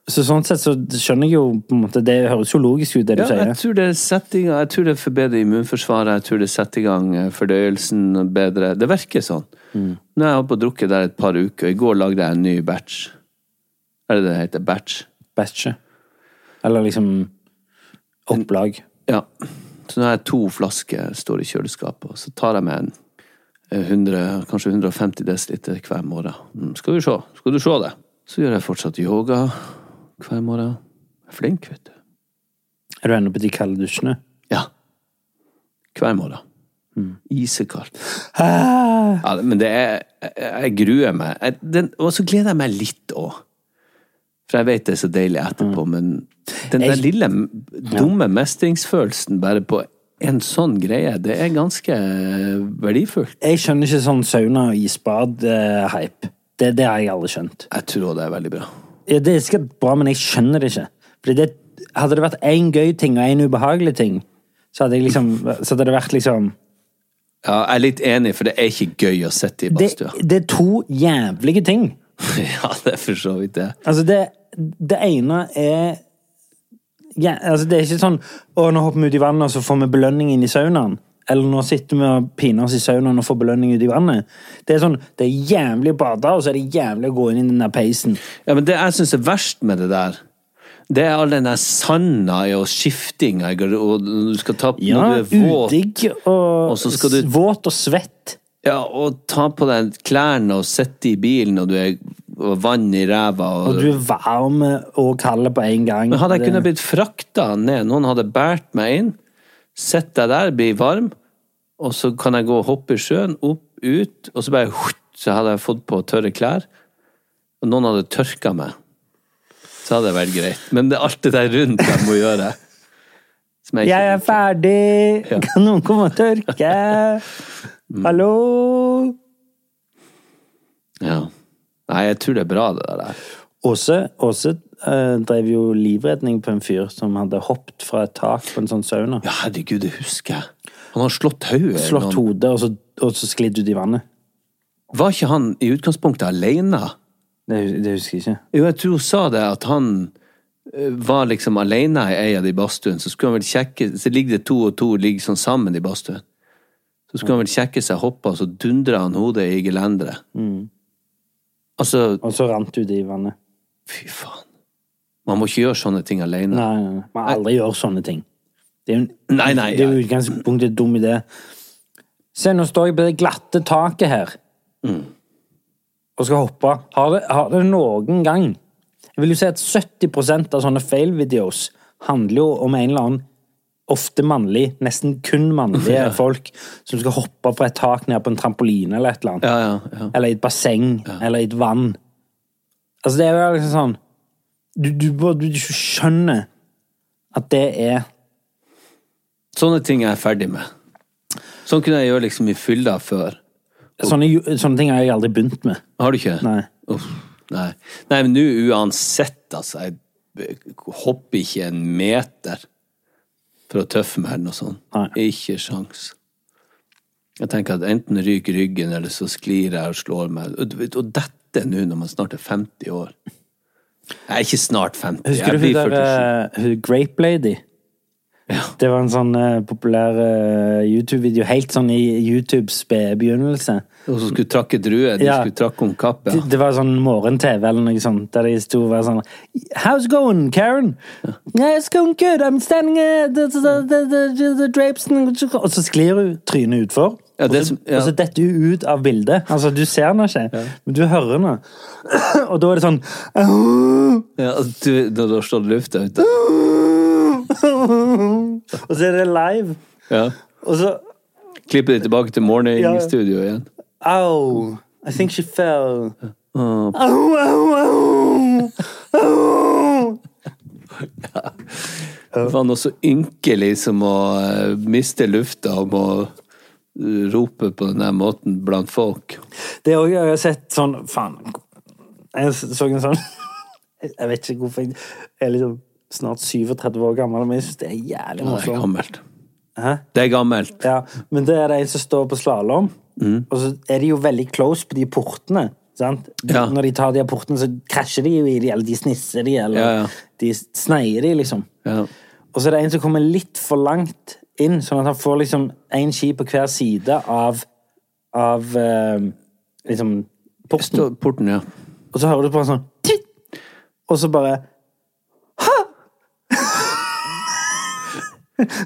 [SPEAKER 1] Så sånn sett så skjønner jeg jo på en måte, Det høres jo logisk ut, det du
[SPEAKER 3] ja
[SPEAKER 1] sier.
[SPEAKER 3] jeg, tror det setter i gang, jeg tror det forbedrer immunforsvaret, jeg tror det setter i gang eh, fordøyelsen bedre. Det virker sånn.
[SPEAKER 1] Mm.
[SPEAKER 3] Nå har jeg holdt på å drukke der et par uker, og i går lagde jeg en ny batch. Er det det heter? Batch?
[SPEAKER 1] Batchet. Eller liksom opplag.
[SPEAKER 3] Ja. Så nå har jeg to flasker står i kjøleskapet, og så tar jeg med en eh, 100, kanskje 150 dl hver morgen. Mm, Skal du se, skal du se det. Så gjør jeg fortsatt yoga hver morgen. Jeg er flink, vet du.
[SPEAKER 1] Er du ennå på de kalde dusjene?
[SPEAKER 3] Ja. Hver morgen. Mm. Isekaldt. Ja, men det er Jeg, jeg gruer meg. Jeg, den, og så gleder jeg meg litt òg. For jeg vet det er så deilig etterpå, men den der
[SPEAKER 1] Jeg-
[SPEAKER 3] lille m- dumme mestringsfølelsen bare på en sånn greie, det er ganske verdifullt.
[SPEAKER 1] Jeg skjønner ikke sånn sauna og isbad-hype. det, det har jeg aldri skjønt.
[SPEAKER 3] Jeg tror det er veldig bra.
[SPEAKER 1] Ja, det er sikkert bra, men jeg skjønner det ikke. Fordi det, hadde det vært én gøy ting og én ubehagelig ting, så hadde, jeg liksom, så hadde det vært liksom
[SPEAKER 3] Ja, jeg er litt enig, for det er ikke gøy å sitte i
[SPEAKER 1] det,
[SPEAKER 3] badstua.
[SPEAKER 1] det er to jævlige ting.
[SPEAKER 3] Ja, det er for så vidt det.
[SPEAKER 1] Altså, det, det ene er ja, altså Det er ikke sånn å, nå hopper vi ut i vannet, og så får vi belønning inn i saunaen. Eller nå sitter vi og piner oss i saunaen og får belønning ut i vannet. Det er sånn, det er jævlig å bade, og så er det jævlig å gå inn i den der peisen.
[SPEAKER 3] Ja, men det jeg syns er verst med det der, det er all den der sanda i og skiftinga i garde- og når du skal ta på
[SPEAKER 1] Ja,
[SPEAKER 3] når du er våt,
[SPEAKER 1] udigg og,
[SPEAKER 3] og så skal du-
[SPEAKER 1] s- våt og svett.
[SPEAKER 3] ja, og ta på deg klærne og sitte i bilen og du er og vann i ræva og,
[SPEAKER 1] Og du er varm og kald på en gang.
[SPEAKER 3] Men hadde jeg
[SPEAKER 1] Det-
[SPEAKER 3] kunnet blitt frakta ned, noen hadde båret meg inn, sett deg der, bli varm, og så kan jeg gå og hoppe i sjøen, opp, ut, og så bare hutt, så hadde jeg fått på tørre klær, og noen hadde tørka meg. Så hadde det vært greit. Men det er alt det der rundt jeg må gjøre. Som jeg ikke
[SPEAKER 1] Jeg er
[SPEAKER 3] liker.
[SPEAKER 1] ferdig!
[SPEAKER 3] Ja.
[SPEAKER 1] Kan noen komme og tørke? Hallo?
[SPEAKER 3] Ja. Nei, jeg tror det er bra, det der.
[SPEAKER 1] Åse, Åse eh, drev jo livredning på en fyr som hadde hoppet fra et tak på en sånn sauna.
[SPEAKER 3] Ja, herregud, det husker jeg. Han har slått hodet. i
[SPEAKER 1] Slått
[SPEAKER 3] noen.
[SPEAKER 1] hodet, og så, og så sklidd ut i vannet.
[SPEAKER 3] Var ikke han i utgangspunktet aleine?
[SPEAKER 1] Det, hus- det husker jeg ikke.
[SPEAKER 3] Jo, jeg tror hun sa det, at han eh, var liksom alene i ei av de badstuene. Så skulle han vel sjekke Så ligger det to og to ligger sånn sammen i badstuen. Så skulle han vel sjekke seg, hoppe, og så dundra han hodet i gelenderet.
[SPEAKER 1] Mm.
[SPEAKER 3] Altså,
[SPEAKER 1] Og så rant ut i vannet.
[SPEAKER 3] fy faen. Man må ikke gjøre sånne ting alene.
[SPEAKER 1] Nei, nei, nei. Man aldri gjør sånne ting. Det er jo, en-
[SPEAKER 3] Nei, nei,
[SPEAKER 1] det er jo i utgangspunktet en dum idé. Se, nå står jeg på det glatte taket her
[SPEAKER 3] Mm.
[SPEAKER 1] og skal hoppe. Har det, har det noen gang Jeg vil jo si at 70 av sånne fail-videos handler jo om en eller annen ofte mannlig, nesten kun mannlige folk som skal hoppe fra et tak ned på en trampoline eller et eller annet.
[SPEAKER 3] Ja, ja, ja.
[SPEAKER 1] Eller i et basseng, eller i et vann. Altså, det er jo liksom sånn Du, du, bare- du, du skjønner at det er
[SPEAKER 3] Sånne ting er jeg ferdig med. Sånn kunne jeg gjøre liksom i fylla før.
[SPEAKER 1] Sånne, ju- sånne ting har jeg aldri begynt med.
[SPEAKER 3] Har du ikke?
[SPEAKER 1] Nei.
[SPEAKER 3] Uff, nei. nei, men nå uansett, altså. Jeg b- hopper ikke en meter for å tøffe meg eller noe sånt.
[SPEAKER 1] Nei.
[SPEAKER 3] Ikke sjans. Jeg tenker at enten ryker ryggen, eller så sklir jeg og slår meg. Og, du vet, og dette nå, når man snart er 50 år. Jeg er ikke snart 50,
[SPEAKER 1] Husker du
[SPEAKER 3] jeg
[SPEAKER 1] hun
[SPEAKER 3] blir
[SPEAKER 1] der eh,
[SPEAKER 3] 47.
[SPEAKER 1] hun Grape Lady? Det var en sånn eh, populær eh, YouTube-video, helt sånn i YouTubes spe- begynnelse.
[SPEAKER 3] Og så skulle trakke druer. De
[SPEAKER 1] Ja.
[SPEAKER 3] skulle trakke om kappet.
[SPEAKER 1] Det, det var sånn morgen-TV eller noe sånt, der de sto og var sånn How's it going, Karen? Yeah, it's going good. I'm standing uh, the, the, the, the, the, the drapes and-" Og så sklir hun trynet utfor.
[SPEAKER 3] Ja,
[SPEAKER 1] og,
[SPEAKER 3] det
[SPEAKER 1] så,
[SPEAKER 3] som- ja.
[SPEAKER 1] og så detter hun ut av bildet. Altså, du ser henne ikke, men du hører henne. og da er det sånn
[SPEAKER 3] Ja, og du, da, da står det luft der ute.
[SPEAKER 1] Og så er det live.
[SPEAKER 3] Ja.
[SPEAKER 1] Og så
[SPEAKER 3] Klipper det tilbake til morning
[SPEAKER 1] Ja.
[SPEAKER 3] studio igjen.
[SPEAKER 1] Au! I think she fell. Au, au, au! Au!
[SPEAKER 3] Det var noe så ynkelig som å eh, miste lufta om å eh, rope på den der måten blant folk.
[SPEAKER 1] Det òg har jeg sett sånn Faen. Jeg så en sånn Jeg vet ikke hvorfor jeg, jeg er liksom snart 37 år gammel, men jeg syns det er jævlig
[SPEAKER 3] Det er
[SPEAKER 1] morsomt.
[SPEAKER 3] gammelt. Det er gammelt.
[SPEAKER 1] Ja, men det er de som står på slalåm,
[SPEAKER 3] Mm.
[SPEAKER 1] og så er de jo veldig close på de portene. Sant?
[SPEAKER 3] Ja.
[SPEAKER 1] Når de tar de her portene, så krasjer de jo i de, eller de snisser de, eller
[SPEAKER 3] Ja, ja.
[SPEAKER 1] de sneier de, liksom.
[SPEAKER 3] Ja.
[SPEAKER 1] Og så er det en som kommer litt for langt inn, sånn at han får liksom én ski på hver side av Av eh, liksom porten.
[SPEAKER 3] Stå, porten, ja.
[SPEAKER 1] Og så hører du på en sånn «Titt!» Og så bare «Hæ?»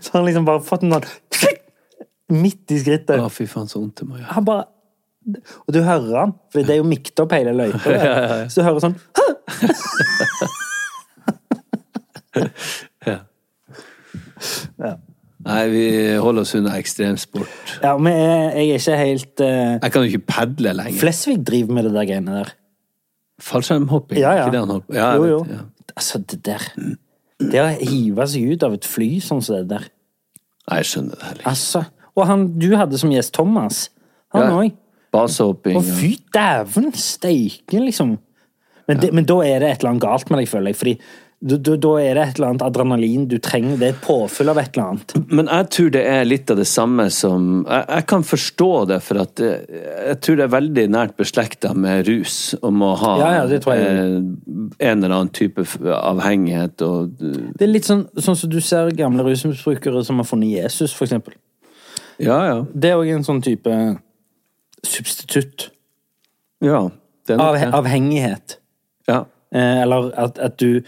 [SPEAKER 1] Så har han liksom bare fått en sånn «Titt!» Midt i skrittet.
[SPEAKER 3] Å, fy faen, så vondt det må gjøre.
[SPEAKER 1] Han bare Og du hører han, for det er jo mikt opp hele løypa. der. Så du hører sånn «Hæ?»
[SPEAKER 3] Nei, vi holder oss unna ekstremsport.
[SPEAKER 1] Ja, men jeg, jeg er ikke helt eh,
[SPEAKER 3] Jeg kan jo ikke padle lenger.
[SPEAKER 1] Flesvig driver med det der greiene der.
[SPEAKER 3] Fallskjermhopping,
[SPEAKER 1] Ja,
[SPEAKER 3] er
[SPEAKER 1] ja.
[SPEAKER 3] ikke det han holder på ja, jeg
[SPEAKER 1] jo, jo.
[SPEAKER 3] vet, ja.
[SPEAKER 1] Altså, det der Det å hive seg ut av et fly sånn som det der
[SPEAKER 3] Nei, jeg skjønner det heller ikke.
[SPEAKER 1] Altså. Og han du hadde som gjest, Thomas, han
[SPEAKER 3] Ja.
[SPEAKER 1] òg.
[SPEAKER 3] Basehopping.
[SPEAKER 1] Å,
[SPEAKER 3] ja.
[SPEAKER 1] fy dæven steike, liksom. Men, det, men da er det et eller annet galt med deg, føler jeg. Fordi da- da da er det et eller annet adrenalin du trenger. Det er et påfyll av et eller annet.
[SPEAKER 3] Men jeg tror det er litt av det samme som Jeg, jeg kan forstå det, for at eh, jeg tror det er veldig nært beslekta med rus, om å ha
[SPEAKER 1] Ja, ja, det tror jeg.
[SPEAKER 3] eh, en eller annen type f- avhengighet og eh,
[SPEAKER 1] Det er litt sånn, sånn som du ser gamle rusmisbrukere som har funnet Jesus, for eksempel.
[SPEAKER 3] Ja, ja.
[SPEAKER 1] Det er òg en sånn type substitutt.
[SPEAKER 3] ja det er nok
[SPEAKER 1] Av,
[SPEAKER 3] det.
[SPEAKER 1] avhengighet.
[SPEAKER 3] Ja,
[SPEAKER 1] Eh, eller at, at du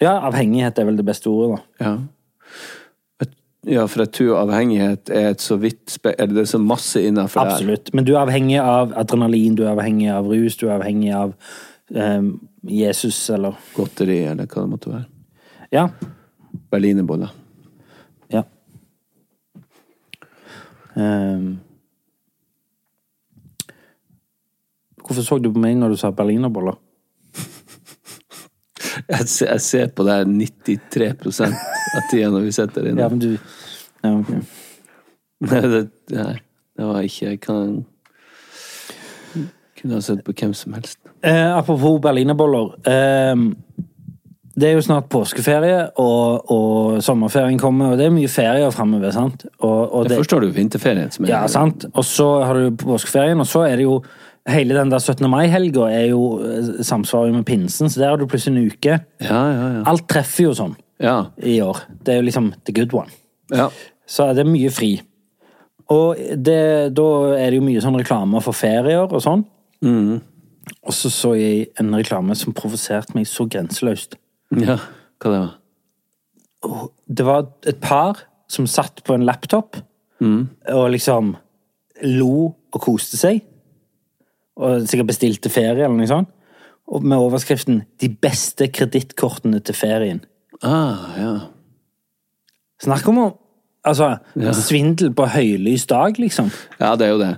[SPEAKER 1] Ja, avhengighet er vel det beste ordet, da.
[SPEAKER 3] ja. ja, for jeg tror avhengighet er et så vidt spe... Eller det er så masse innafor der.
[SPEAKER 1] Absolutt. Men du er avhengig av adrenalin, du er avhengig av rus, du er avhengig av eh, Jesus, eller
[SPEAKER 3] Godteri, eller hva det måtte være.
[SPEAKER 1] Ja.
[SPEAKER 3] Berlinerboller.
[SPEAKER 1] Ja. Ehm. hvorfor så du på meg når du sa berlinerboller?
[SPEAKER 3] Jeg, se- jeg ser på det her 93 av tida når vi sitter der inne.
[SPEAKER 1] Ja, men du ja, ok.
[SPEAKER 3] Nei, det, nei, det var ikke Jeg kan Kunne ha sett på hvem som helst.
[SPEAKER 1] Eh, apropos berlinerboller. ehm, det er jo snart påskeferie, og, og sommerferien kommer, og det er mye ferier framover, sant? Og, og
[SPEAKER 3] Jeg
[SPEAKER 1] det,
[SPEAKER 3] forstår du vinterferien som er
[SPEAKER 1] ja, sant? Og så har du påskeferien, og så er det jo Hele den der 17. mai-helga er jo eh, samsvarer jo med pinsen, så der har du plutselig en uke.
[SPEAKER 3] Ja, ja, ja.
[SPEAKER 1] Alt treffer jo sånn.
[SPEAKER 3] ja,
[SPEAKER 1] i år. Det er jo liksom the good one.
[SPEAKER 3] ja.
[SPEAKER 1] Så det er mye fri. Og det, da er det jo mye sånn reklame for ferier og sånn. Og så så jeg en reklame som provoserte meg så grenseløst.
[SPEAKER 3] ja. Hva det var
[SPEAKER 1] Det var et par som satt på en laptop og liksom lo og koste seg. Og sikkert bestilte ferie eller noe sånt. Og med overskriften 'De beste kredittkortene til ferien'.
[SPEAKER 3] ah, ja.
[SPEAKER 1] Snakk om å Altså, svindel på høylys dag, liksom.
[SPEAKER 3] ja, det er jo det.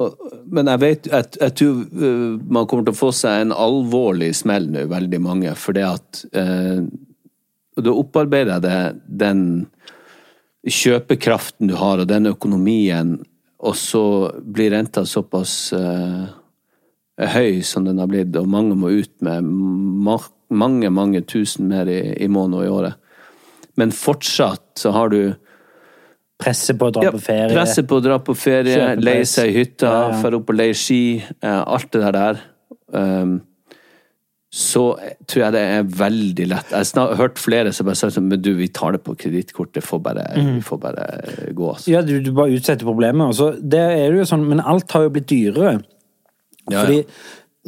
[SPEAKER 3] Og, men jeg vet jeg, jeg tror øh, man kommer til å få seg en alvorlig smell nå, veldig mange, fordi at øh, og Da opparbeider jeg det, den kjøpekraften du har, og den økonomien, og så blir renta såpass eh, høy som den har blitt, og mange må ut med ma- mange, mange tusen mer i, i måneden og i året. Men fortsatt så har du
[SPEAKER 1] Presse på å dra
[SPEAKER 3] ja,
[SPEAKER 1] på ferie.
[SPEAKER 3] Presse på å dra på ferie,
[SPEAKER 1] Kjøpe
[SPEAKER 3] leie
[SPEAKER 1] pres.
[SPEAKER 3] seg hytta,
[SPEAKER 1] Ja,
[SPEAKER 3] ja,
[SPEAKER 1] ja.
[SPEAKER 3] opp og leie ski. eh, alt det der der. Um, så tror jeg det er veldig lett Jeg har snak- hørt flere som bare sa sånn, men du, vi tar det på kredittkortet, får bare,
[SPEAKER 1] Mhm.
[SPEAKER 3] vi får bare gå, altså.
[SPEAKER 1] Ja, du, du bare utsetter problemet. Og så, det er jo sånn, men alt har jo blitt dyrere.
[SPEAKER 3] Ja,
[SPEAKER 1] Fordi
[SPEAKER 3] ja.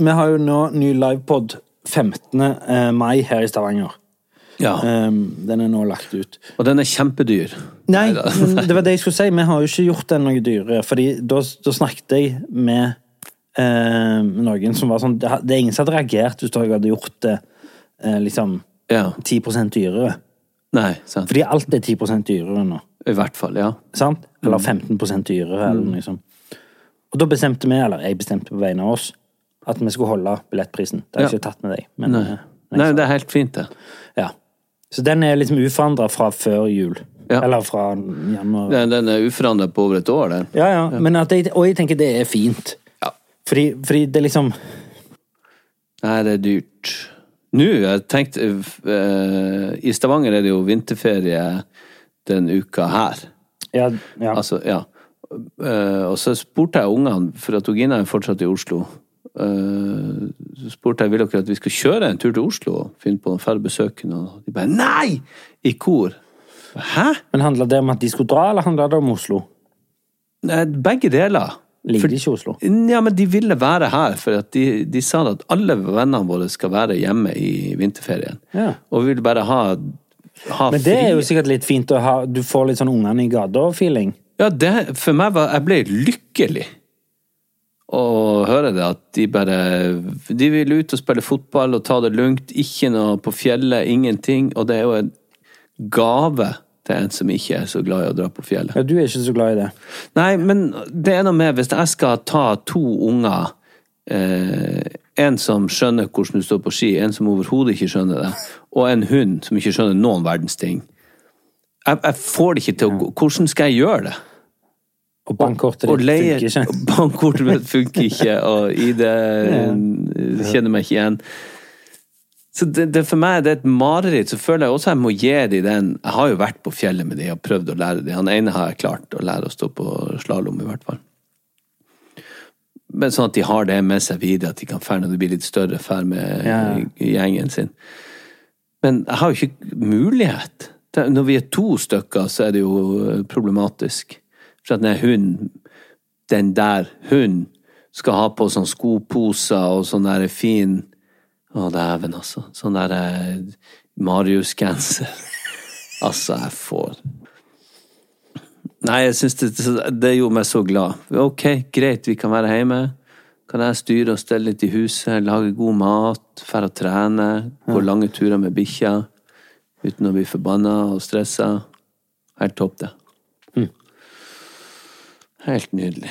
[SPEAKER 1] vi har jo nå ny livepod 15. eh, mai her i Stavanger.
[SPEAKER 3] ja.
[SPEAKER 1] Um, den er nå lagt ut.
[SPEAKER 3] Og den er kjempedyr.
[SPEAKER 1] Nei,
[SPEAKER 3] Neida.
[SPEAKER 1] men det var det jeg skulle si. Vi har jo ikke gjort den noe dyrere. Fordi da, da snakket jeg med eh, noen som var sånn Det det er ingen som hadde reagert hvis jeg hadde gjort det eh, liksom
[SPEAKER 3] Ja.
[SPEAKER 1] 10 dyrere.
[SPEAKER 3] Nei, sant.
[SPEAKER 1] Fordi alt er 10 dyrere nå.
[SPEAKER 3] I hvert fall, ja.
[SPEAKER 1] sant?
[SPEAKER 3] Mm.
[SPEAKER 1] Eller 15 dyrere, eller noe sånt. Og da bestemte vi, eller jeg bestemte på vegne av oss, at vi skulle holde billettprisen. Det har jeg
[SPEAKER 3] Ja.
[SPEAKER 1] ikke tatt med deg. Men,
[SPEAKER 3] Nei.
[SPEAKER 1] eh,
[SPEAKER 3] Nei, det er helt fint, det.
[SPEAKER 1] ja. Så den er liksom uforandra fra før jul.
[SPEAKER 3] Ja.
[SPEAKER 1] Eller fra januar.
[SPEAKER 3] Den, den er uforandret på over et år, den.
[SPEAKER 1] Ja, ja. Men at jeg, og jeg tenker det er fint.
[SPEAKER 3] Ja.
[SPEAKER 1] Fordi, fordi det er liksom
[SPEAKER 3] Nei, det er dyrt. Nå, jeg tenkte eh, I Stavanger er det jo vinterferie den uka her.
[SPEAKER 1] Ja. ja.
[SPEAKER 3] Altså, ja. Eh, og så spurte jeg ungene, for at Gina er fortsatt i Oslo eh, Så spurte jeg vil dere at vi skulle kjøre en tur til Oslo og finne på noen færre besøkende. Og de bare nei! I kor. Hæ?
[SPEAKER 1] Men handla det om at de skulle dra, eller handla det om Oslo?
[SPEAKER 3] Nei, Begge deler.
[SPEAKER 1] Ligger de ikke i Oslo?
[SPEAKER 3] Ja, men de ville være her, for at de, de sa at alle vennene våre skal være hjemme i vinterferien.
[SPEAKER 1] Ja.
[SPEAKER 3] Og vi vil bare ha, ha
[SPEAKER 1] Men det
[SPEAKER 3] fri.
[SPEAKER 1] er jo sikkert litt fint å ha Du får litt sånn ungene i gata-feeling.
[SPEAKER 3] Ja, det, for meg var Jeg ble lykkelig å høre det, at de bare De vil ut og spille fotball og ta det lugnt. Ikke noe på fjellet, ingenting. Og det er jo en gave til en som ikke er så glad i å dra på fjellet.
[SPEAKER 1] Ja, du er ikke så glad i det.
[SPEAKER 3] Nei, men det er noe med Hvis jeg skal ta to unger eh, En som skjønner hvordan du står på ski, en som overhodet ikke skjønner det, og en hund som ikke skjønner noen verdens ting Jeg, jeg får det ikke til å gå. Hvordan skal jeg gjøre det?
[SPEAKER 1] Og bankkortet
[SPEAKER 3] Og
[SPEAKER 1] ditt
[SPEAKER 3] leie
[SPEAKER 1] funker ikke.
[SPEAKER 3] Bankkortet mitt funker ikke, og ID jeg kjenner meg ikke igjen. Så det, det for meg det er et mareritt. Så føler jeg også jeg må gi de den Jeg har jo vært på fjellet med de og prøvd å lære de. Han ene har jeg klart å lære å stå på slalåm, i hvert fall. Men sånn at de har det med seg videre, at de kan ferde når de blir litt større, ferde med
[SPEAKER 1] Ja.
[SPEAKER 3] gjengen sin. Men jeg har jo ikke mulighet. Det- Når vi er to stykker, så er det jo eh, problematisk. For at den hunden, den der hunden, skal ha på sånn skoposer og sånn der fin Å, dæven, altså. Sånn der eh, Marius-genser. Altså, jeg får Nei, jeg synes det, det gjorde meg så glad. Ok, greit, vi kan være hjemme. Kan jeg styre og stelle litt i huset, lage god mat, dra og trene, gå lange turer med bikkja uten å bli forbanna og stressa. Helt topp, det. Helt nydelig.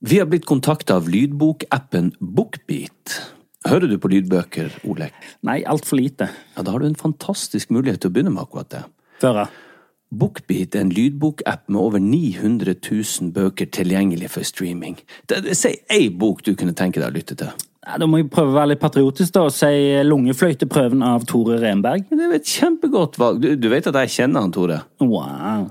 [SPEAKER 3] Vi har blitt kontakta av lydbokappen Bookbeat. Hører du på lydbøker, Olek?
[SPEAKER 1] Nei, altfor lite.
[SPEAKER 3] Ja, da har du en fantastisk mulighet til å begynne med akkurat det.
[SPEAKER 1] Føre.
[SPEAKER 3] Bookbeat er en lydbokapp med over 900 000 bøker tilgjengelig for streaming. Det- det- Si ei bok du kunne tenke deg å lytte til.
[SPEAKER 1] Nei, Da må jeg prøve å være litt patriotisk da, og si Lungefløyteprøven av Tore Renberg.
[SPEAKER 3] Det er et kjempegodt valg. Du, du vet at jeg kjenner han, Tore?
[SPEAKER 1] Wow.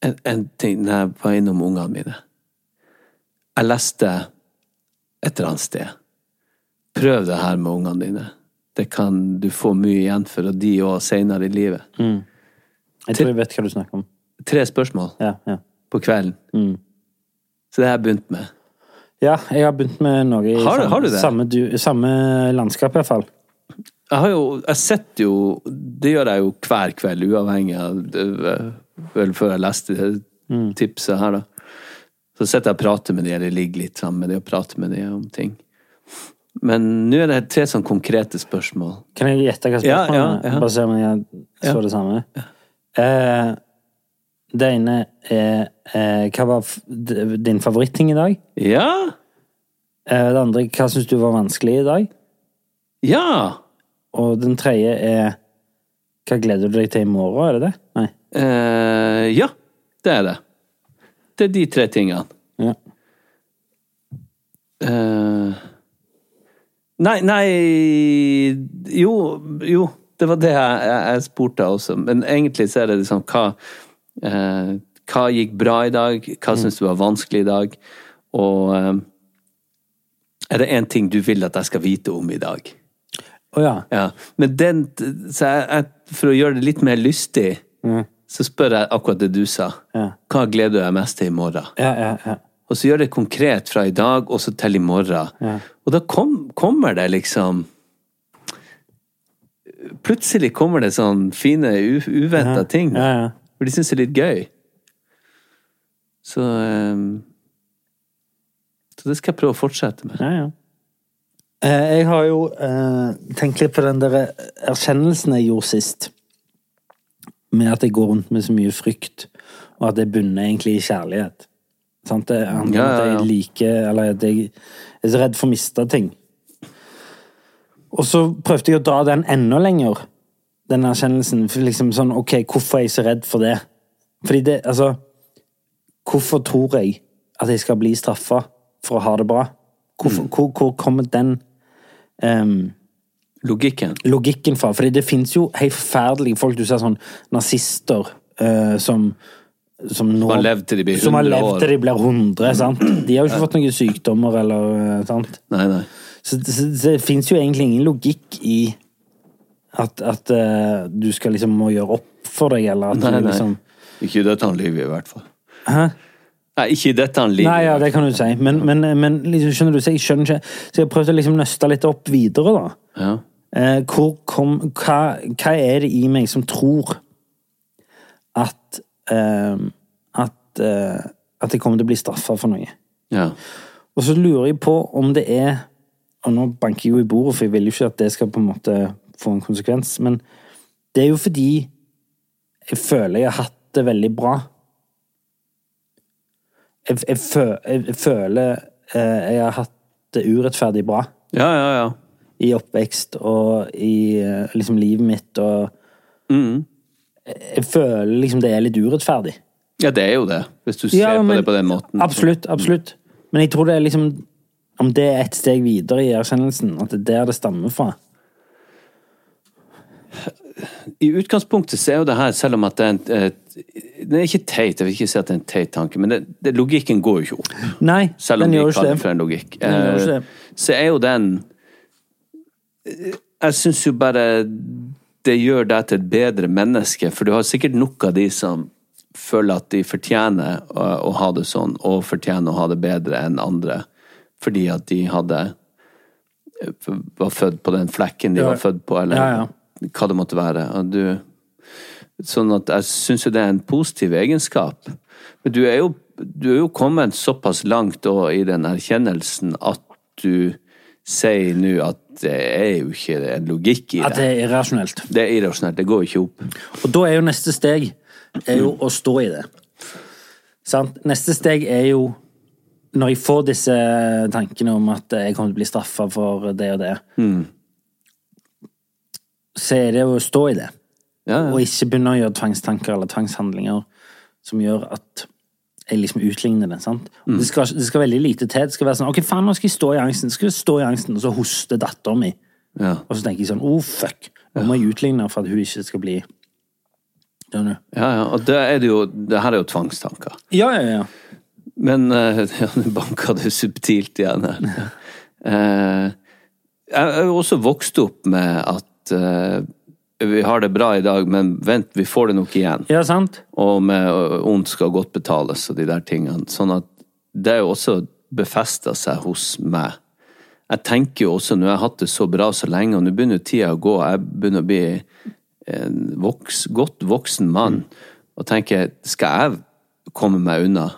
[SPEAKER 3] En, en ting når jeg var innom ungene mine Jeg leste et eller annet sted Prøv det her med ungene dine. Det kan du få mye igjen for, og de òg senere i livet.
[SPEAKER 1] Jeg tror jeg vet hva du snakker om.
[SPEAKER 3] Tre spørsmål
[SPEAKER 1] Ja, ja.
[SPEAKER 3] på kvelden. Så det har jeg begynt med.
[SPEAKER 1] ja, jeg har begynt med noe i
[SPEAKER 3] Har du-
[SPEAKER 1] samme,
[SPEAKER 3] har du det?
[SPEAKER 1] Samme, du, samme landskap, i hvert fall.
[SPEAKER 3] Jeg har jo Jeg sitter jo Det gjør jeg jo hver kveld, uavhengig av det- Vel, før jeg leste det tipset her, da. Så sitter jeg og prater med de, eller ligger litt sammen med de og prater med de om ting. Men nå er det tre sånn konkrete spørsmål.
[SPEAKER 1] Kan jeg gjette hva
[SPEAKER 3] Ja,
[SPEAKER 1] spørsmålet
[SPEAKER 3] ja, ja.
[SPEAKER 1] er? Bare se om jeg så det samme. Eh, det ene er eh, Hva var f d- din favoritting i dag?
[SPEAKER 3] Ja!
[SPEAKER 1] Eh, det andre Hva syns du var vanskelig i dag?
[SPEAKER 3] Ja!
[SPEAKER 1] Og den tredje er Hva gleder du deg til i morgen? Er det det? Nei.
[SPEAKER 3] Eh, ja, det er det. Det er de tre tingene.
[SPEAKER 1] Ja.
[SPEAKER 3] Eh, nei, nei Jo, jo. Det var det jeg, jeg, jeg spurte også. Men egentlig så er det liksom hva eh, Hva gikk bra i dag? Hva syns du var vanskelig i dag? Og eh, er det én ting du vil at jeg skal vite om i dag?
[SPEAKER 1] Å ja.
[SPEAKER 3] Ja. Men den så jeg, jeg, For å gjøre det litt mer lystig, så spør jeg akkurat det du sa.
[SPEAKER 1] Mm. Ja.
[SPEAKER 3] Hva gleder du deg mest til i morgen?
[SPEAKER 1] Ja, ja, ja.
[SPEAKER 3] Og så gjør det konkret fra i dag og så til i morgen. Og da kom, kommer det liksom Plutselig kommer det sånn fine, uventa ting.
[SPEAKER 1] ja, ja.
[SPEAKER 3] For de syns det er litt gøy. Så ehm, Så det skal jeg prøve å fortsette med.
[SPEAKER 1] ja, ja. Eh, jeg har jo eh, tenkt litt på den der erkjennelsen jeg gjorde sist. Med at jeg går rundt med så mye frykt, og at det bunner egentlig i kjærlighet. Sant? Det handler
[SPEAKER 3] Ja,
[SPEAKER 1] om
[SPEAKER 3] ja,
[SPEAKER 1] at
[SPEAKER 3] ja.
[SPEAKER 1] jeg liker Eller at jeg er så redd for å miste ting. Og så prøvde jeg å dra den enda lenger, den erkjennelsen. For liksom sånn, ok, hvorfor er jeg så redd for det? Fordi det, altså Hvorfor tror jeg at jeg skal bli straffa for å ha det bra?
[SPEAKER 3] Mm.
[SPEAKER 1] Hvorfor, hvor, hvor kommer den ehm,
[SPEAKER 3] Logikken.
[SPEAKER 1] logikken fra? Fordi det fins jo helt forferdelige folk du ser sånn nazister eh, som som, nå,
[SPEAKER 3] har levd til de blir
[SPEAKER 1] som har
[SPEAKER 3] 100
[SPEAKER 1] levd
[SPEAKER 3] år. Mm.
[SPEAKER 1] til de blir 100. sant? De har jo ikke fått noen sykdommer eller eh, sant?
[SPEAKER 3] Nei, nei.
[SPEAKER 1] Så, så, så det fins jo egentlig ingen logikk i at, at eh, du skal liksom må gjøre opp for deg, eller at
[SPEAKER 3] nei,
[SPEAKER 1] du
[SPEAKER 3] nei.
[SPEAKER 1] liksom
[SPEAKER 3] Ikke i dette livet, i hvert fall. Nei, ikke i dette livet.
[SPEAKER 1] Nei, ja, det kan du si. Men, men, men liksom, skjønner du, så jeg skjønner ikke Så jeg har prøvd å liksom nøste litt opp videre, da.
[SPEAKER 3] Ja.
[SPEAKER 1] Eh, hvor kom, hva, hva er det i meg som tror at eh, at, eh, at jeg kommer til å bli straffa for noe?
[SPEAKER 3] Ja.
[SPEAKER 1] Og så lurer jeg på om det er Og nå banker jeg jo i bordet, for jeg vil jo ikke at det skal på en måte få en konsekvens, men det er jo fordi jeg føler jeg har hatt det veldig bra. Jeg, jeg, fø, jeg, jeg føler eh, jeg har hatt det urettferdig bra
[SPEAKER 3] ja, ja, ja.
[SPEAKER 1] i oppvekst og i eh, liksom livet mitt og Jeg føler liksom det er litt urettferdig.
[SPEAKER 3] Ja, det er jo det. Hvis du ser på det på den måten.
[SPEAKER 1] Absolutt, absolutt. Men jeg tror det er liksom Om det er et steg videre i erkjennelsen, at det er der det stammer fra.
[SPEAKER 3] I utgangspunktet så er jo det her, selv om at det er en et, Det er ikke teit, jeg vil ikke si at det er en teit tanke, men det, det, logikken går jo ikke opp.
[SPEAKER 1] Nei,
[SPEAKER 3] Selv om
[SPEAKER 1] den
[SPEAKER 3] vi
[SPEAKER 1] gjør ikke
[SPEAKER 3] kaller
[SPEAKER 1] det.
[SPEAKER 3] det for en logikk.
[SPEAKER 1] Den gjør ikke det.
[SPEAKER 3] Eh, Så er jo den Jeg syns jo bare det gjør deg til et bedre menneske, for du har sikkert nok av de som føler at de fortjener å, å ha det sånn, og fortjener å ha det bedre enn andre, fordi at de hadde eh, var født på den flekken de
[SPEAKER 1] Ja.
[SPEAKER 3] var født på, eller
[SPEAKER 1] Ja,
[SPEAKER 3] hva det måtte være. Og du, sånn at jeg syns jo det er en positiv egenskap. Men du er jo, du er jo kommet såpass langt da, i den erkjennelsen at du sier nå at det er jo ikke en logikk i
[SPEAKER 1] At det
[SPEAKER 3] det.
[SPEAKER 1] er irrasjonelt.
[SPEAKER 3] Det er irrasjonelt, det går ikke opp.
[SPEAKER 1] Og da er jo neste steg er jo å stå i det. Sant? Neste steg er jo når jeg får disse tankene om at jeg kommer til å bli straffa for det og det,
[SPEAKER 3] Mm.
[SPEAKER 1] så er det jo å stå i det.
[SPEAKER 3] Ja, ja.
[SPEAKER 1] Og ikke begynne å gjøre tvangstanker eller tvangshandlinger som gjør at jeg liksom utligner det. sant? Og Det, skal, det skal veldig lite til. Det skal være sånn Ok, faen, nå skal jeg stå i angsten. Skal jeg stå i angsten, Og så hoster dattera mi.
[SPEAKER 3] Ja.
[SPEAKER 1] Og så tenker jeg sånn Oh, fuck. Nå må jeg utligne for at hun ikke skal bli Skjønner du?
[SPEAKER 3] Ja, ja, og det, er det, jo, det her er jo tvangstanker.
[SPEAKER 1] Ja, ja, ja.
[SPEAKER 3] Men eh, ja, nå banka du subtilt igjen her. Eh, jeg er jo også vokst opp med at eh, vi har det bra i dag, men vent, vi får det nok igjen.
[SPEAKER 1] Ja, sant?
[SPEAKER 3] Og med eh, ondt skal godt betales og de der tingene. Sånn at det er jo også befesta seg hos meg. Jeg tenker jo også, nå har jeg hatt det så bra så lenge, og nå begynner jo tida å gå, jeg begynner å bli en voks, godt voksen mann, og tenker, skal jeg komme meg unna?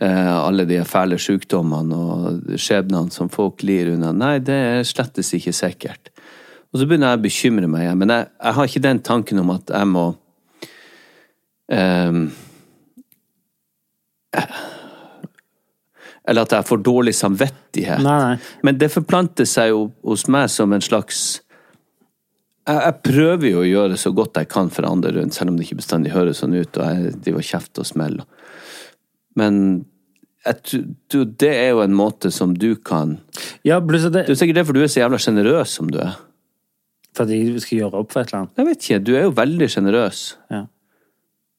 [SPEAKER 3] eh, alle de fæle sykdommene og skjebnene som folk lir unna. Nei, det er slettes ikke sikkert. Og så begynner jeg å bekymre meg igjen, men jeg, jeg har ikke den tanken om at jeg må ehm, eh, Eller at jeg får dårlig samvittighet.
[SPEAKER 1] Nei, nei.
[SPEAKER 3] Men det forplanter seg jo hos meg som en slags jeg, jeg prøver jo å gjøre så godt jeg kan for andre rundt, selv om det ikke bestandig høres sånn ut, og jeg driver og kjefter og smeller. Men jeg, tr- du, det er jo en måte som du kan
[SPEAKER 1] Ja, pluss at
[SPEAKER 3] Det er
[SPEAKER 1] det
[SPEAKER 3] jo sikkert derfor du er så jævla sjenerøs som du er.
[SPEAKER 1] For at jeg skal gjøre opp for et eller annet.
[SPEAKER 3] Jeg vet ikke, du er jo veldig sjenerøs.
[SPEAKER 1] Ja.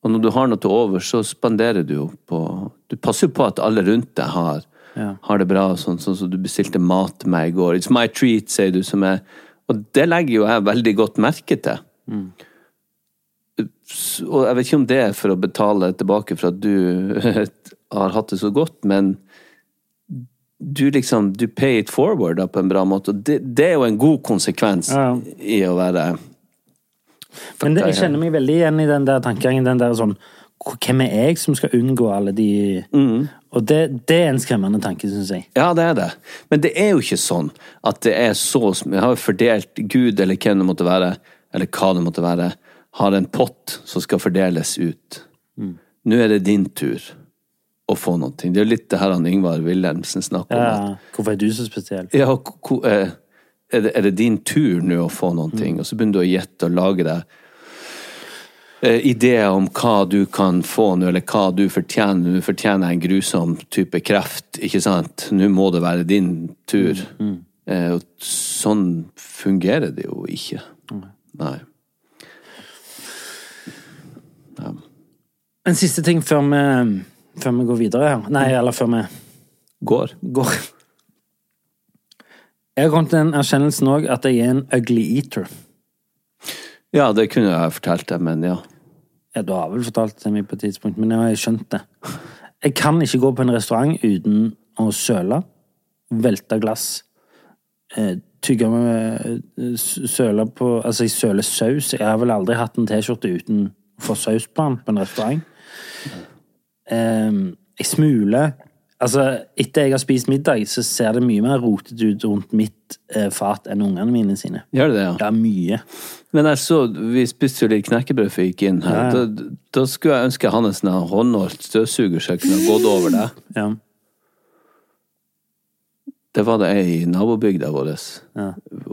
[SPEAKER 3] Og når du har noe til over, så spanderer du jo på Du passer jo på at alle rundt deg har,
[SPEAKER 1] Ja.
[SPEAKER 3] har det bra, og sånn sånn som du bestilte mat til meg i går. It's my treat, sier du, som er Og det legger jo jeg veldig godt merke til.
[SPEAKER 1] Mm.
[SPEAKER 3] S- Og jeg vet ikke om det er for å betale tilbake for at du har hatt det så godt, men du liksom Du pay it forward da, på en bra måte, og det, det er jo en god konsekvens
[SPEAKER 1] Ja, ja.
[SPEAKER 3] i å være
[SPEAKER 1] Men det, jeg
[SPEAKER 3] Fuck deg,
[SPEAKER 1] kjenner meg veldig igjen i den der tankegangen. Den der sånn "Hvor- Hvem er jeg som skal unngå alle de Og det, det er en skremmende tanke, syns jeg.
[SPEAKER 3] Ja, det er det. Men det er jo ikke sånn at det er så sm- Jeg har jo fordelt Gud, eller hvem det måtte være, eller hva det måtte være, har en pott som skal fordeles ut. Nå er det din tur å få noe. Det er jo litt det her han Yngvar Wilhelmsen snakker om. at
[SPEAKER 1] Ja, hvorfor er du så spesiell?
[SPEAKER 3] ja, og ko- eh, er, det, er det din tur nå å få noen ting? Og så begynner du å gjette og lage deg eh, ideer om hva du kan få nå, eller hva du fortjener. Du fortjener en grusom type kreft, ikke sant? Nå må det være din tur. Eh, og sånn fungerer det jo ikke. Nei.
[SPEAKER 1] En siste ting før vi, før vi går videre her. Nei, eller før vi
[SPEAKER 3] Går.
[SPEAKER 1] går. Jeg har kommet til den erkjennelsen òg at jeg er en ugly eater.
[SPEAKER 3] Ja, det kunne jeg fortalt deg, men ja.
[SPEAKER 1] Ja, du har vel fortalt det til meg på et tidspunkt, men nå har jeg skjønt det. Jeg kan ikke gå på en restaurant uten å søle, velte glass, eh, tygge med eh, s- søle på Altså, jeg søler saus. Jeg har vel aldri hatt en T-skjorte uten å få saus på den på en restaurant. Eh, jeg smuler. Altså, etter jeg har spist middag, så ser det mye mer rotete ut rundt mitt eh, fat enn ungene mine sine.
[SPEAKER 3] Gjør det det, ja?
[SPEAKER 1] Ja, mye.
[SPEAKER 3] Men jeg så, vi spiste jo litt knekkebrød før vi gikk inn her. Da, da skulle jeg ønske jeg hadde en sånn her håndholdt støvsuger så jeg kunne ha gått over det.
[SPEAKER 1] Ja.
[SPEAKER 3] Det var det ei i nabobygda vår.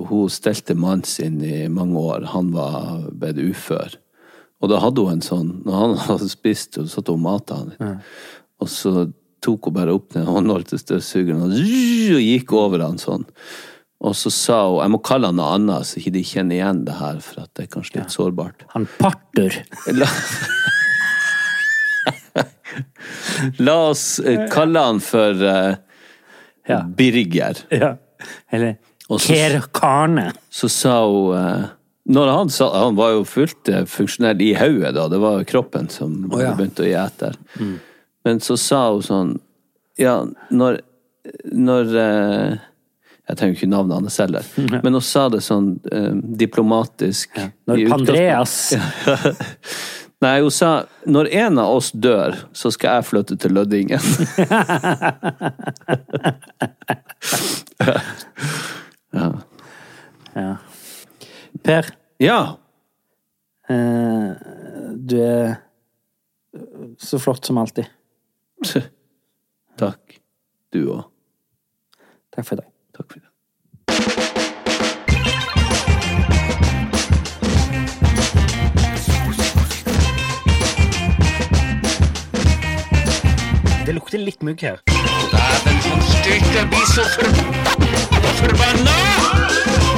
[SPEAKER 3] Hun stelte mannen sin i mange år. Han var blitt ufør. Og da hadde hun en sånn Når han hadde spist, så satt hun og mata han. Og så tok hun bare opp den håndholdte støvsugeren og, og gikk over han sånn. Og så sa hun jeg må kalle han noe annet, så ikke de kjenner igjen det her, for at det er kanskje litt sårbart.
[SPEAKER 1] Han parter.
[SPEAKER 3] La, La oss eh, kalle han for eh,
[SPEAKER 1] Ja.
[SPEAKER 3] Birger.
[SPEAKER 1] Ja. Eller
[SPEAKER 3] Og så-
[SPEAKER 1] Kerkane.
[SPEAKER 3] Så sa hun eh, når han, sa, han var jo fullt eh, funksjonell i hodet, da. Det var jo kroppen som
[SPEAKER 1] ja. Mm.
[SPEAKER 3] begynte å gi etter. Men så sa hun sånn Ja, når, når eh, Jeg trenger jo ikke navnet hans heller, men hun sa det sånn eh, diplomatisk.
[SPEAKER 1] Når
[SPEAKER 3] i utgangspunktet.
[SPEAKER 1] Andreas
[SPEAKER 3] Nei, hun sa når en av oss dør, så skal jeg flytte til Lødingen.
[SPEAKER 1] Per,
[SPEAKER 3] ja.
[SPEAKER 1] eh, du er så flott som alltid.
[SPEAKER 3] Takk. Du òg.
[SPEAKER 1] Takk for i dag.
[SPEAKER 3] Takk for det.
[SPEAKER 4] Det lukter litt mugg her.
[SPEAKER 2] Dæven som styrte blir så forbanna Forbanna